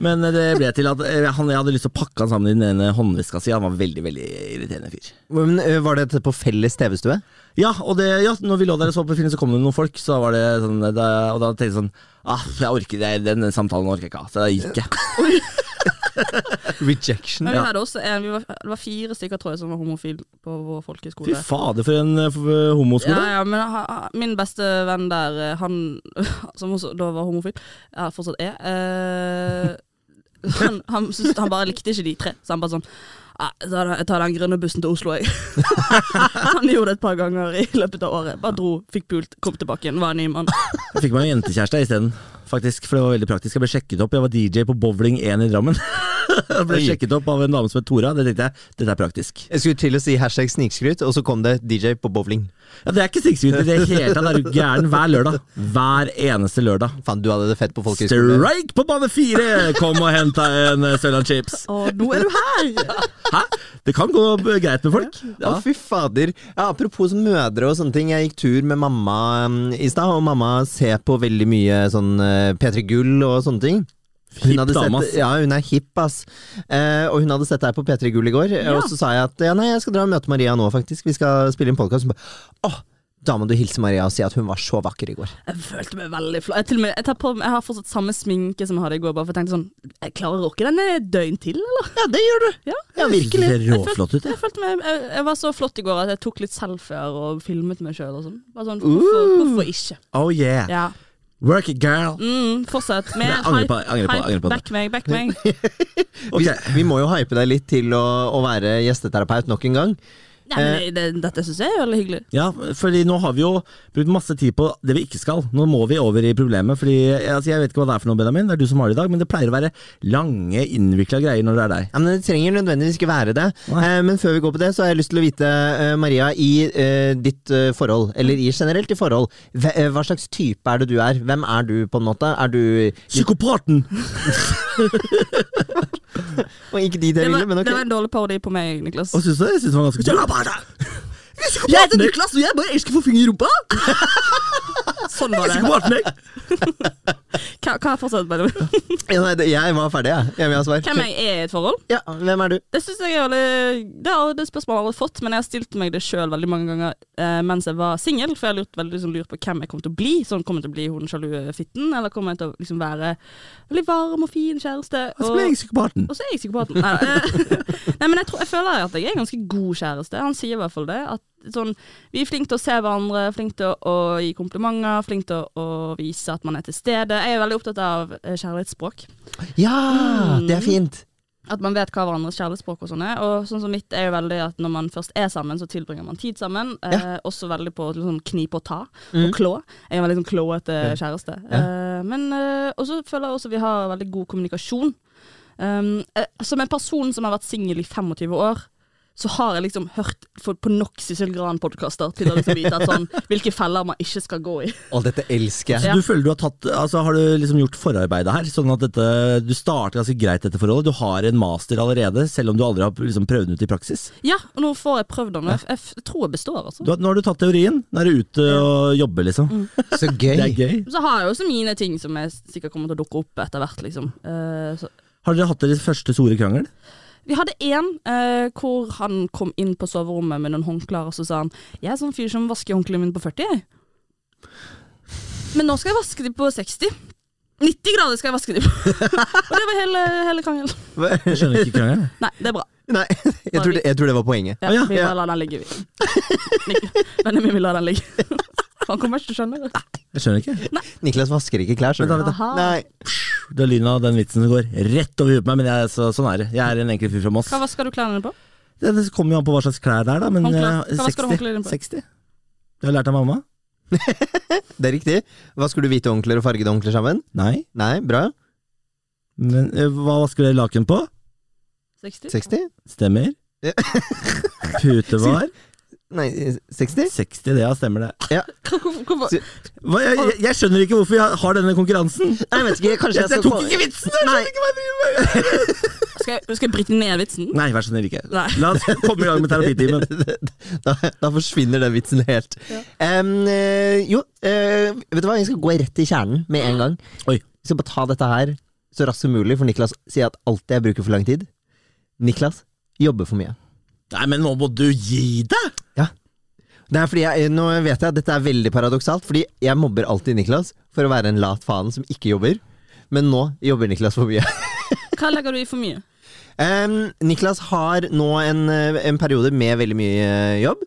[SPEAKER 1] men det ble til at eh, han, jeg hadde lyst til å pakke han sammen i den ene håndveska si. Han var veldig, veldig irriterende fyr.
[SPEAKER 2] Men ø, Var dette på felles TV-stue?
[SPEAKER 1] Ja, og det, ja, når vi lå der og så på film, så kom det noen folk, så var det sånn, da, og da tenkte jeg sånn ah, jeg orker, jeg, den, den samtalen orker jeg ikke ha, så da gikk jeg.
[SPEAKER 2] Rejection.
[SPEAKER 4] Men vi hadde også en, vi var, det var fire stykker tror jeg som var homofile på vår
[SPEAKER 1] Fy
[SPEAKER 4] folkehøgskole.
[SPEAKER 1] fader, for en eh, f- homoskole.
[SPEAKER 4] Ja, ja, men ha- ha- min beste venn der, eh, han som også da var homofil, ja, fortsatt er eh, han, han, syntes- han bare likte ikke de tre, så han bare sånn «Ah, ta den- Jeg tar den grønne bussen til Oslo, jeg. han gjorde det et par ganger i løpet av året. Bare dro, fikk pult, kom tilbake igjen, var en ny mann.
[SPEAKER 1] Jeg fikk meg en jentekjæreste isteden, faktisk, for det var veldig praktisk. Jeg ble sjekket opp, jeg var DJ på Bowling 1 i Drammen. jeg ble
[SPEAKER 2] Oi.
[SPEAKER 1] sjekket opp av en dame som het Tora, det tenkte jeg, dette er praktisk.
[SPEAKER 2] Jeg skulle til å si hashtag snikskryt, og så kom det DJ på bowling.
[SPEAKER 1] Ja, det er ikke snikskryt i det hele tatt, er du gæren hver lørdag. Hver eneste lørdag.
[SPEAKER 2] Faen, du hadde det fett på folkehøyskole.
[SPEAKER 1] Strike på bane fire! Kom og hent deg en eh, Sørland Chips.
[SPEAKER 4] Å, nå er du her!
[SPEAKER 1] Hæ? Det kan gå b- greit med folk.
[SPEAKER 2] Å, fy fader. Ja, apropos sånn mødre og sånne ting. Jeg gikk tur med mamma mm, i stad, og mamma ser på veldig mye sånn eh, P3 Gull og sånne ting.
[SPEAKER 1] Hipp dame, ass.
[SPEAKER 2] ja, hun er hipp, ass. Eh, og hun hadde sett deg på P3 Gull i går, eh, og så sa jeg at ja, nei, jeg skal dra og møte Maria nå, faktisk. Vi skal spille inn podkast. Hun bare åh, da må du hilse Maria og si at hun var så vakker i går.
[SPEAKER 4] Jeg følte meg veldig flau. Jeg, til og med- jeg, tar på meg- jeg har fortsatt samme sminke som jeg hadde i går, bare for jeg tenkte sånn Jeg klarer å rocke den et døgn til, eller?
[SPEAKER 2] Ja, det gjør du.
[SPEAKER 4] Ja.
[SPEAKER 2] Ja,
[SPEAKER 1] Det
[SPEAKER 2] virkelig.
[SPEAKER 1] ser råflott ut,
[SPEAKER 4] Jeg,
[SPEAKER 1] jeg.
[SPEAKER 4] følte meg, jeg, jeg var så flott i går at jeg tok litt selfier og filmet meg sjøl og sånn. Bare sånn, hvorfor,
[SPEAKER 1] Uh.
[SPEAKER 4] hvorfor ikke?
[SPEAKER 1] Oh yeah.
[SPEAKER 4] Ja.
[SPEAKER 1] Work it, girl.
[SPEAKER 4] Mm, fortsett. Mer
[SPEAKER 1] Nei, angrer på det,
[SPEAKER 4] hype.
[SPEAKER 1] angrer på det,
[SPEAKER 4] hype.
[SPEAKER 1] angrer på det.
[SPEAKER 4] Back meg, back meg.
[SPEAKER 1] Ok.
[SPEAKER 2] Vi, vi må jo hype deg litt til å, å være gjesteterapeut nok en gang.
[SPEAKER 4] Nei,
[SPEAKER 1] Eh.
[SPEAKER 4] men det, dette syns jeg er veldig hyggelig.
[SPEAKER 1] Ja, fordi nå har vi jo brukt masse tid på det vi ikke skal. Nå må vi over i problemet. Fordi, altså, Jeg vet ikke hva det er for noe, Benjamin, det er du som har det i dag, men det pleier å være lange, innvikla greier når det er deg.
[SPEAKER 2] Ja, men Det trenger nødvendigvis ikke være det.
[SPEAKER 1] Nei.
[SPEAKER 2] Eh, men før vi går på det, så har jeg lyst til å vite, eh, Maria, i eh, ditt eh, forhold, eller i generelt i forhold, hva, eh, hva slags type er det du er? Hvem er du, på en måte? Er du
[SPEAKER 1] Psykopaten!
[SPEAKER 2] Og Ikke dit
[SPEAKER 4] Det
[SPEAKER 2] jeg
[SPEAKER 4] var,
[SPEAKER 2] ville, men ok.
[SPEAKER 4] det var en dårlig parodi på meg, Niklas.
[SPEAKER 1] Hva syns du? Jeg syns det var ganske Psykopaten! Jeg heter Niklas, og jeg bare elsker å få finger i rumpa!
[SPEAKER 4] Sånn var det.
[SPEAKER 1] Psykopaten, jeg.
[SPEAKER 4] Hva, hva fortsatt, by the way?
[SPEAKER 2] Ja, nei, det- jeg var ferdig, jeg. Jeg vil ha svar.
[SPEAKER 4] Hvem jeg er i et forhold?
[SPEAKER 2] Ja, hvem er du?
[SPEAKER 4] Det synes jeg er veldig Det er det spørsmålet jeg har aldri fått, men jeg har stilt meg det sjøl veldig mange ganger eh, mens jeg var singel, for jeg har lurt veldig liksom, lurt på hvem jeg kommer til å bli. Sånn Kommer jeg til å bli hun sjalu fitten, eller kommer jeg til å liksom, være veldig varm og fin kjæreste?
[SPEAKER 1] Og så ble Altså, jeg psykopaten.
[SPEAKER 4] Og så er jeg psykopaten. Nei, eh, nei men jeg, tror, jeg føler at jeg er en ganske god kjæreste. Han sier i hvert fall det. At sånn, vi er flinke til å se hverandre, flinke til å gi komplimenter, flinke til å vise at man er til stede. Jeg er veldig opptatt av eh, kjærlighetsspråk.
[SPEAKER 2] Ja, det er fint.
[SPEAKER 4] At man vet hva hverandres kjærlighetsspråk og sånn er. Og sånn som mitt er jo veldig at når man først er sammen, så tilbringer man tid sammen. Eh, også veldig på å liksom, knipe og ta, og klå. Jeg er en veldig sånn klåete kjæreste. Eh, men eh, også føler jeg også vi har veldig god kommunikasjon. Um, eh, som en person som har vært singel i 25 år, så har jeg liksom hørt for, på nok Sissel Gran-podkaster til å liksom vite at sånn, hvilke feller man ikke skal gå i.
[SPEAKER 2] Å, dette elsker jeg.
[SPEAKER 1] Så
[SPEAKER 4] Ja.
[SPEAKER 1] du føler du har tatt Altså Har du liksom gjort forarbeidet her? Sånn at dette Du starter ganske greit dette forholdet. Du har en master allerede, selv om du aldri har liksom prøvd den ut i praksis.
[SPEAKER 4] Ja, og nå får jeg prøvd den. og Jeg, f- jeg tror jeg består, altså.
[SPEAKER 1] Du, har- nå har du tatt teorien. Nå er du ute og jobber, liksom.
[SPEAKER 4] Mm.
[SPEAKER 2] Så
[SPEAKER 1] Det er
[SPEAKER 2] gøy.
[SPEAKER 1] gøy.
[SPEAKER 4] Så har jeg også mine ting som jeg sikkert kommer til å dukke opp etter hvert, liksom. Eh, så.
[SPEAKER 1] Har dere hatt deres første store krangel?
[SPEAKER 4] Vi hadde én eh, hvor han kom inn på soverommet med noen håndklær, og så sa han 'Jeg er sånn fyr som vasker håndklærne mine på 40, jeg'. Men nå skal jeg vaske de på 60. 90 grader skal jeg vaske de på. og det var hele, hele krangelen.
[SPEAKER 1] Jeg skjønner ikke krangelen.
[SPEAKER 4] Nei, det er bra.
[SPEAKER 2] Nei, jeg tror, det, jeg tror det var poenget.
[SPEAKER 4] Ja,
[SPEAKER 1] Å ja,
[SPEAKER 4] vi bare
[SPEAKER 1] ja.
[SPEAKER 4] lar den ligge, vi. Nik- Benjamin, vi lar den ligge. Han kommer ikke til å skjønne det.
[SPEAKER 1] Jeg skjønner ikke.
[SPEAKER 2] Niklas vasker ikke klær, skjønner du.
[SPEAKER 4] Aha.
[SPEAKER 2] Nei.
[SPEAKER 1] Det er lyden av den vitsen som går rett over huet på meg, men jeg, så, sånn er det. Jeg er en enkel fyr fra Moss.
[SPEAKER 4] Hva vasker du klærne dine på?
[SPEAKER 1] Det, det kommer jo an på hva slags klær det er, da. Men
[SPEAKER 4] Håndklær.
[SPEAKER 1] eh,
[SPEAKER 4] Hva skal
[SPEAKER 1] 60.
[SPEAKER 4] du håndklærne på?
[SPEAKER 1] 60. Det har jeg lært av mamma.
[SPEAKER 2] Det er riktig. Hva skulle du hvite håndklær og fargede håndklær sammen?
[SPEAKER 1] Nei.
[SPEAKER 2] Nei, bra.
[SPEAKER 1] Men eh, hva vasker dere laken på?
[SPEAKER 4] 60?
[SPEAKER 2] 60?
[SPEAKER 1] Stemmer.
[SPEAKER 2] Ja.
[SPEAKER 1] Putevar.
[SPEAKER 2] Nei, 60?
[SPEAKER 1] 60, det ja, stemmer det.
[SPEAKER 4] Hvorfor- hvorfor-
[SPEAKER 1] Hva, jeg, jeg, jeg skjønner ikke hvorfor jeg har denne konkurransen.
[SPEAKER 2] Nei, jeg vet ikke, kanskje jeg
[SPEAKER 1] Jeg, jeg
[SPEAKER 2] skal
[SPEAKER 1] tok ikke vitsen! Jeg skjønner ikke hva jeg driver med.
[SPEAKER 4] Skal jeg, skal jeg bryte ned vitsen?
[SPEAKER 1] Nei, vær så snill ikke.
[SPEAKER 4] Nei.
[SPEAKER 1] La oss komme i gang med terapitimen.
[SPEAKER 2] da, da forsvinner den vitsen helt. Em, eh, jo, eh, vet du hva, jeg skal gå rett i kjernen med en gang.
[SPEAKER 1] Oi.
[SPEAKER 2] Vi skal bare ta dette her så raskt som mulig, for Niklas sier at alt jeg bruker for lang tid Niklas jobber for mye.
[SPEAKER 1] Nei, men nå må du gi deg!
[SPEAKER 2] Ja. Det er fordi jeg, nå vet jeg at dette er veldig paradoksalt, fordi jeg mobber alltid Niklas for å være en lat faen som ikke jobber. Men nå jobber Niklas for mye.
[SPEAKER 4] Hva legger du i for mye?
[SPEAKER 2] Em, Niklas har nå en, eh, en periode med veldig mye eh, jobb.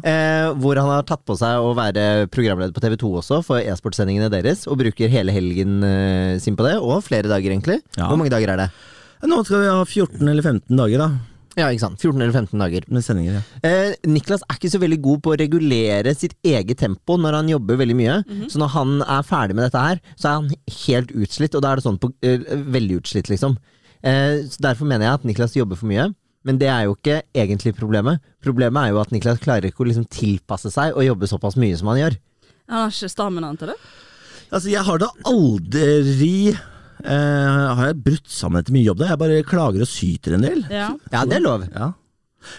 [SPEAKER 2] Eh, hvor han har tatt på seg å være programleder på TV2 også, for e-sportsendingene deres. Og bruker hele helgen eh, sin på det, og flere dager, egentlig.
[SPEAKER 1] Ja.
[SPEAKER 2] Hvor mange dager er det?
[SPEAKER 1] Nå skal vi ha 14 eller 15 dager da
[SPEAKER 2] Ja, ikke sant. 14 eller 15 dager.
[SPEAKER 1] med sendinger. Ja.
[SPEAKER 2] Eh, Niklas er ikke så veldig god på å regulere sitt eget tempo når han jobber veldig mye. Så når han er ferdig med dette her, så er han helt utslitt, og da er det sånn på, eh, veldig utslitt, liksom. Eh, så derfor mener jeg at Niklas jobber for mye. Men det er jo ikke egentlig problemet. Problemet er jo at Niklas klarer ikke å liksom tilpasse seg og jobbe såpass mye som han gjør.
[SPEAKER 4] Han har ikke staminaen til det?
[SPEAKER 1] Altså, jeg har da aldri eh, Har jeg brutt sammen etter mye jobb? da Jeg bare klager og syter en del.
[SPEAKER 4] Ja.
[SPEAKER 2] Ja, det er lov.
[SPEAKER 1] Ja.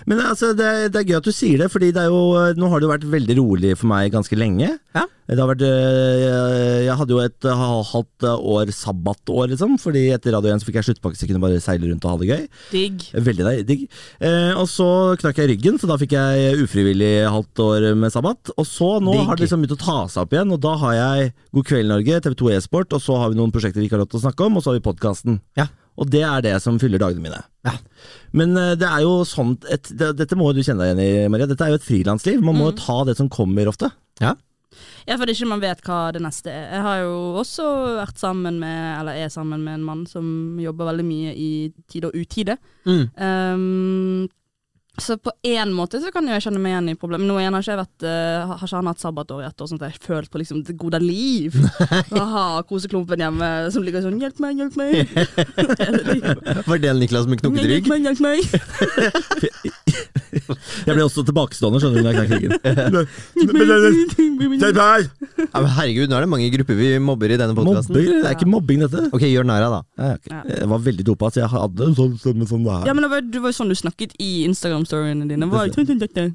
[SPEAKER 1] Men altså, det, er- det er gøy at du sier det, Fordi det er jo, nå har det jo vært veldig rolig for meg ganske lenge.
[SPEAKER 2] Ja.
[SPEAKER 1] Det har vært, øh, jeg hadde jo et ha- halvt eh, år sabbatår, liksom, fordi etter Radio 1 så fikk jeg sluttpakke så jeg kunne bare seile rundt og ha det gøy.
[SPEAKER 4] Digg.
[SPEAKER 1] Veldig deg- digg. Eh, og så knakk jeg ryggen, så da fikk jeg ufrivillig halvt år med sabbat. Og så nå
[SPEAKER 2] Digg.
[SPEAKER 1] har det liksom begynt å ta seg opp igjen, og da har jeg God kveld Norge, TV2 E-sport, og så har vi noen prosjekter vi ikke har lov til å snakke om, og så har vi podkasten.
[SPEAKER 2] Ja.
[SPEAKER 1] Og det er det som fyller dagene mine. Men eh, det er jo sånn et, det, Dette må jo du kjenne deg igjen i, Maria. Dette er jo et frilansliv. Man må jo ta det som kommer ofte.
[SPEAKER 2] Ja.
[SPEAKER 4] Ja, for det er ikke man vet hva det neste er. Jeg har jo også vært sammen med, eller er sammen med en mann som jobber veldig mye i tide og utide.
[SPEAKER 2] Mm.
[SPEAKER 4] Ehm, så på én måte så kan jo jeg kjenne meg igjen i problemet. Nå igjen har ikke jeg vært, eh, har ikke han hatt sabbatår i ett år, sånn at jeg har følt på liksom det gode liv. Aha, koseklumpen hjemme som ligger sånn 'hjelp meg, hjelp meg'.
[SPEAKER 2] Var det Niklas med knokket
[SPEAKER 4] Hjelp
[SPEAKER 2] rygg?
[SPEAKER 4] meg, hjelp meg.
[SPEAKER 1] Jeg ble også tilbakestående, skjønner du, når jeg knakk ryggen.
[SPEAKER 4] Hjelp meg.
[SPEAKER 2] Ja, men herregud, nå er det mange grupper vi mobber i denne podkasten.
[SPEAKER 1] Mobbing? Det er ikke mobbing, dette.
[SPEAKER 2] Ok, gjør narr av, da.
[SPEAKER 1] Nei, Jeg, har ikke- jeg var veldig dopa, så jeg hadde en sånn stemme som det her.
[SPEAKER 4] Ja, men det var, det var jo sånn du snakket i Instagram-storyene dine. Det var jo-
[SPEAKER 1] Stemmer det?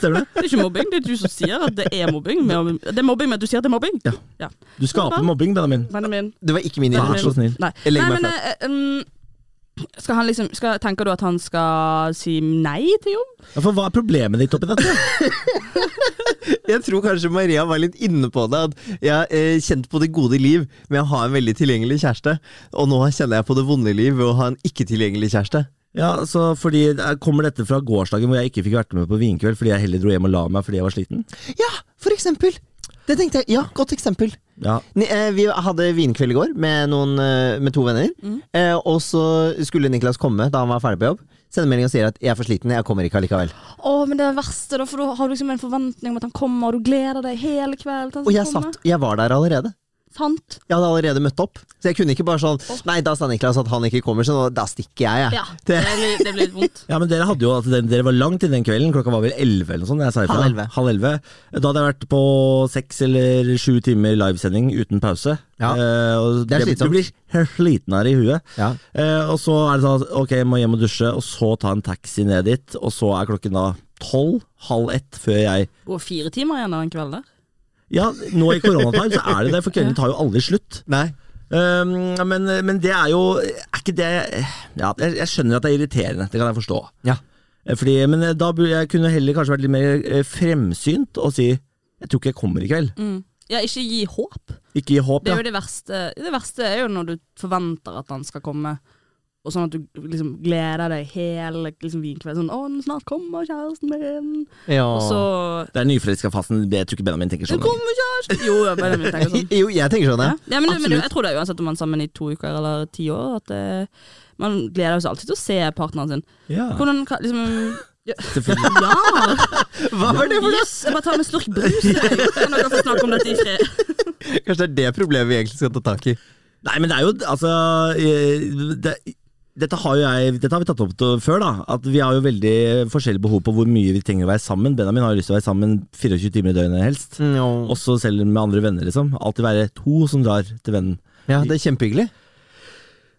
[SPEAKER 4] Det er ikke mobbing, det er du som sier at det er mobbing. men- Det er mobbing, men at du sier at det er mobbing.
[SPEAKER 1] Ja. Du skaper mobbing, Benjamin.
[SPEAKER 4] Benjamin.
[SPEAKER 2] Det var ikke min
[SPEAKER 1] Vær
[SPEAKER 2] intensjon.
[SPEAKER 1] så snill.
[SPEAKER 4] Nei.
[SPEAKER 2] Jeg legger
[SPEAKER 4] nei,
[SPEAKER 2] meg
[SPEAKER 4] men eh, um, skal han liksom, skal, Tenker du at han skal si nei til jobb?
[SPEAKER 1] Ja, for hva er problemet ditt oppi dette?
[SPEAKER 2] Jeg tror kanskje Maria var litt inne på det. At jeg har eh, kjent på det gode liv med å ha en veldig tilgjengelig kjæreste. Og nå kjenner jeg på det vonde liv ved å ha en ikke-tilgjengelig kjæreste.
[SPEAKER 1] Ja, så fordi eh, Kommer dette fra gårsdagen hvor jeg ikke fikk vært med på vinkveld fordi jeg heller dro hjem og la meg fordi jeg var sliten?
[SPEAKER 2] Ja, for eksempel! Det tenkte jeg. Ja, godt eksempel.
[SPEAKER 1] Ja,
[SPEAKER 2] Ni- eh, Vi hadde vinkveld i går med, noen, eh, med to venner.
[SPEAKER 4] Mm.
[SPEAKER 2] Eh, Og så skulle Niklas komme da han var ferdig på jobb. Sender melding og sier at 'jeg er for sliten, jeg kommer ikke allikevel'.
[SPEAKER 4] Å, men det er verste, da, for da har du liksom en forventning om at han kommer, og du gleder deg hele kvelden til
[SPEAKER 2] Og
[SPEAKER 4] han skal
[SPEAKER 2] jeg,
[SPEAKER 4] komme.
[SPEAKER 2] satt, jeg var der allerede.
[SPEAKER 4] Sant?
[SPEAKER 2] Jeg hadde allerede møtt opp. Så jeg kunne ikke bare sånn 'nei, da sa Niklas at han ikke kommer, så nå, da stikker jeg', jeg.
[SPEAKER 4] Ja. Det blir, det blir litt vondt.
[SPEAKER 1] Ja, men dere hadde jo at den- dere var langt inn den kvelden. Klokka var vel 11 eller noe sånt. Jeg sa ifra.
[SPEAKER 2] Halv elleve.
[SPEAKER 1] Halv elleve. Da hadde jeg vært på seks eller sju timer livesending uten pause.
[SPEAKER 2] Ja.
[SPEAKER 1] Eh, og
[SPEAKER 2] Det er slitsomt.
[SPEAKER 1] Du blir sliten av det i huet.
[SPEAKER 2] Ja.
[SPEAKER 1] Eh, og så er det sånn at ok, jeg må hjem og dusje, og så ta en taxi ned dit. Og så er klokken da tolv, halv ett, før jeg
[SPEAKER 4] Går fire timer igjen av en kveld der.
[SPEAKER 1] Ja, nå i koronatime så er det det, for kvelden tar jo aldri slutt.
[SPEAKER 2] Nei.
[SPEAKER 1] Um, men, men det er jo Er ikke det Ja, jeg, jeg skjønner at det er irriterende. Det kan jeg forstå.
[SPEAKER 2] Ja.
[SPEAKER 1] Eh, Fordi, men eh, da burde jeg kunne heller kanskje vært litt mer eh, fremsynt og si jeg tror ikke jeg kommer i kveld.
[SPEAKER 4] Ja, ikke gi håp.
[SPEAKER 1] Ikke gi håp,
[SPEAKER 4] Det
[SPEAKER 1] ja.
[SPEAKER 4] er jo det verste. Det verste er jo når du forventer at han skal komme. Og sånn at du liksom gleder deg hele liksom, vinkvelden. Sånn 'Å, snart kommer kjæresten min'. Og så
[SPEAKER 1] Det er nyforelska fasen. Det tror ikke Benjamin tenker
[SPEAKER 4] Det
[SPEAKER 1] sånn.
[SPEAKER 4] kommer kjæresten Jo, ja, Benjamin tenker sånn.
[SPEAKER 2] Jo, jeg tenker sånn,
[SPEAKER 4] Ja.
[SPEAKER 2] ja.
[SPEAKER 4] Ja, men, men
[SPEAKER 2] Absolutt.
[SPEAKER 4] jeg tror det er uansett om man er sammen i to uker eller ti år, at eh, man gleder seg alltid til å se partneren sin.
[SPEAKER 1] Ja,
[SPEAKER 4] Hvordan kan liksom ja.
[SPEAKER 1] selvfølgelig.
[SPEAKER 4] Ja!
[SPEAKER 2] Hva var det for noe?
[SPEAKER 4] Yes, jeg bare tar meg en slurk brus. jeg. Kan dere få snakke om dette i fred?
[SPEAKER 2] Kanskje det er det problemet vi egentlig skal ta tak i.
[SPEAKER 1] Nei, men det er jo altså eh, det, dette har, jo jeg, dette har vi tatt opp til før, da. At vi har jo veldig forskjellige behov på hvor mye vi trenger å være sammen. Benjamin har jo lyst til å være sammen 24 timer i døgnet helst.
[SPEAKER 2] Og-
[SPEAKER 1] Også selv med andre venner, liksom. Alltid være to som drar til vennen.
[SPEAKER 2] Ja, det er kjempehyggelig.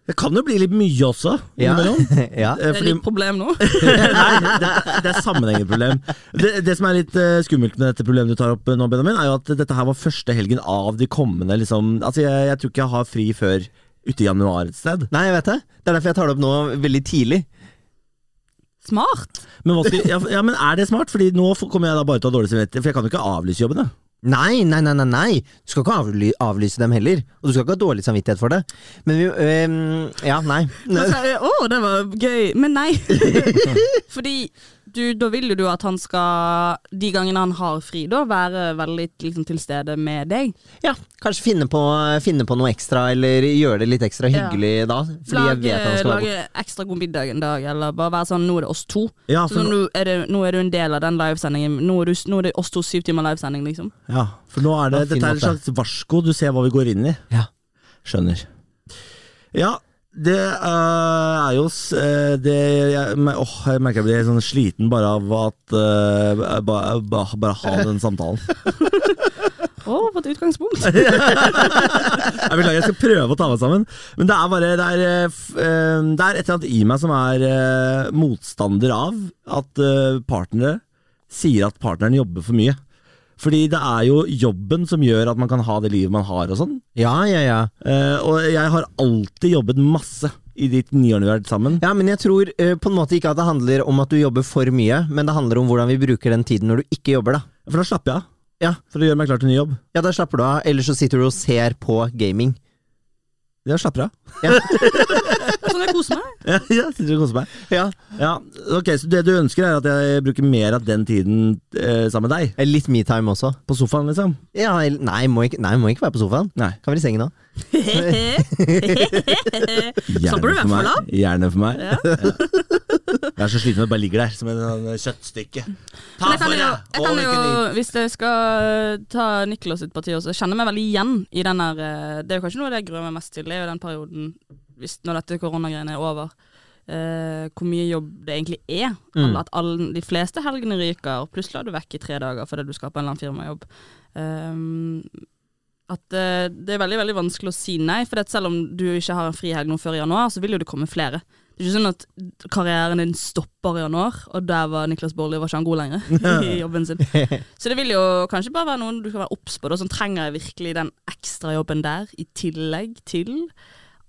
[SPEAKER 1] Det kan jo bli litt mye også,
[SPEAKER 2] Ja.
[SPEAKER 1] innimellom.
[SPEAKER 2] ja.
[SPEAKER 1] Eh,
[SPEAKER 4] Det er
[SPEAKER 1] fordi-
[SPEAKER 4] litt problem nå.
[SPEAKER 1] Nei, det, det er sammenhengende problem. Det, det som er litt eh, skummelt med dette problemet du tar opp eh, nå, Benjamin, er jo at dette her var første helgen av de kommende liksom, Altså, jeg, jeg tror ikke jeg har fri før ute i januar et sted.
[SPEAKER 2] Nei, jeg vet det. Det er derfor jeg tar det opp nå veldig tidlig.
[SPEAKER 4] Smart.
[SPEAKER 1] Men, hva skal, ja, ja, men er det smart? Fordi nå får- kommer jeg da bare til å ha dårlig samvittighet, for jeg kan jo ikke avlyse jobbene.
[SPEAKER 2] Nei, nei, nei, nei, nei. Du skal ikke avly avlyse dem heller. Og du skal ikke ha dårlig samvittighet for det. Men vi øhm, Ja, nei.
[SPEAKER 4] Å, det var gøy. Men nei. Fordi du, da vil jo du at han skal, de gangene han har fri, da være veldig liksom, til stede med deg.
[SPEAKER 2] Ja, kanskje finne på, finne på noe ekstra, eller gjøre det litt ekstra hyggelig da. Fordi jeg vet han
[SPEAKER 4] Lage,
[SPEAKER 2] skal være borte.
[SPEAKER 4] lage ekstra god middag en dag, eller bare være sånn 'nå er det oss to'.
[SPEAKER 1] Ja, for
[SPEAKER 4] så nå, er det, nå er du en del av den livesendingen. Nå er, du, nå er det oss to syv timer livesending, liksom.
[SPEAKER 1] Ja, for nå er det,
[SPEAKER 2] Ja, fin
[SPEAKER 1] dette er et
[SPEAKER 2] måte.
[SPEAKER 1] slags varsko. Du ser hva vi går inn i.
[SPEAKER 2] Ja.
[SPEAKER 1] Skjønner. Ja, det øh, er jo s- øh, det, jeg, men- åh, jeg merker jeg blir sånn sliten bare av at øh, ba, ba, Bare ha den samtalen.
[SPEAKER 4] Å, for et utgangspunkt. Altså,
[SPEAKER 1] Jeg beklager, jeg skal prøve å ta meg sammen. Men det er bare Det er, øh, f- øh, det er et eller annet i meg som er øh, motstander av at øh, partnere sier at partneren jobber for mye. Fordi det er jo jobben som gjør at man kan ha det livet man har og sånn.
[SPEAKER 2] ja, ja, ja.
[SPEAKER 1] Eh, og jeg har alltid jobbet masse i de ni årene vi har vært sammen.
[SPEAKER 2] Ja, men jeg tror eh, på en måte ikke at det handler om at du jobber for mye, men det handler om hvordan vi bruker den tiden når du ikke jobber, da.
[SPEAKER 1] For da slapper jeg av.
[SPEAKER 2] Ja.
[SPEAKER 1] For å gjøre meg klar til ny jobb.
[SPEAKER 2] Ja, da slapper du av, eller så sitter du og ser på gaming.
[SPEAKER 1] Jeg slapper av.
[SPEAKER 4] Sånn jeg koser meg.
[SPEAKER 1] Ja, jeg sitter og koser meg.
[SPEAKER 2] Ja.
[SPEAKER 1] Ja, ok, Så det du ønsker, er at jeg bruker mer av den tiden eh, sammen med deg?
[SPEAKER 2] Eller Litt metime også.
[SPEAKER 1] På sofaen, liksom?
[SPEAKER 2] Ja, eller- nei, må ikke, nei, må ikke være på sofaen.
[SPEAKER 1] Nei.
[SPEAKER 2] Kan være i sengen òg.
[SPEAKER 1] Gjerne for
[SPEAKER 4] burde du i hvert
[SPEAKER 1] meg.
[SPEAKER 4] fall
[SPEAKER 1] Gjerne for meg.
[SPEAKER 4] Ja.
[SPEAKER 1] Jeg er så sliten med at jeg bare ligger der som en sånn kjøttstykke.
[SPEAKER 4] Men
[SPEAKER 1] Ta
[SPEAKER 4] jeg kan
[SPEAKER 1] for
[SPEAKER 4] jo,
[SPEAKER 1] deg!
[SPEAKER 4] jeg kan jo hvis jeg skal eh, ta Nicolas sitt parti også, jeg kjenner meg veldig igjen i den der eh, Det er jo kanskje noe av det jeg gruer meg mest til, det er jo den perioden hvis, når dette koronagreiene er over. eh, hvor mye jobb det egentlig er.
[SPEAKER 1] Mm.
[SPEAKER 4] Alle- At alle, de fleste helgene ryker, og plutselig er du vekk i tre dager fordi du skal på en eller annen firmajobb. Ehm, at eh, det er veldig veldig vanskelig å si nei, for selv om du ikke har en frihelg nå før i januar, så vil jo det komme flere. Det er ikke sånn at karrieren din stopper i januar, og der var Niklas Baarli var ikke han god lenger i jobben sin. Så det vil jo kanskje bare være noen du kan være obs på, da, som trenger jeg virkelig den ekstra jobben der, i tillegg til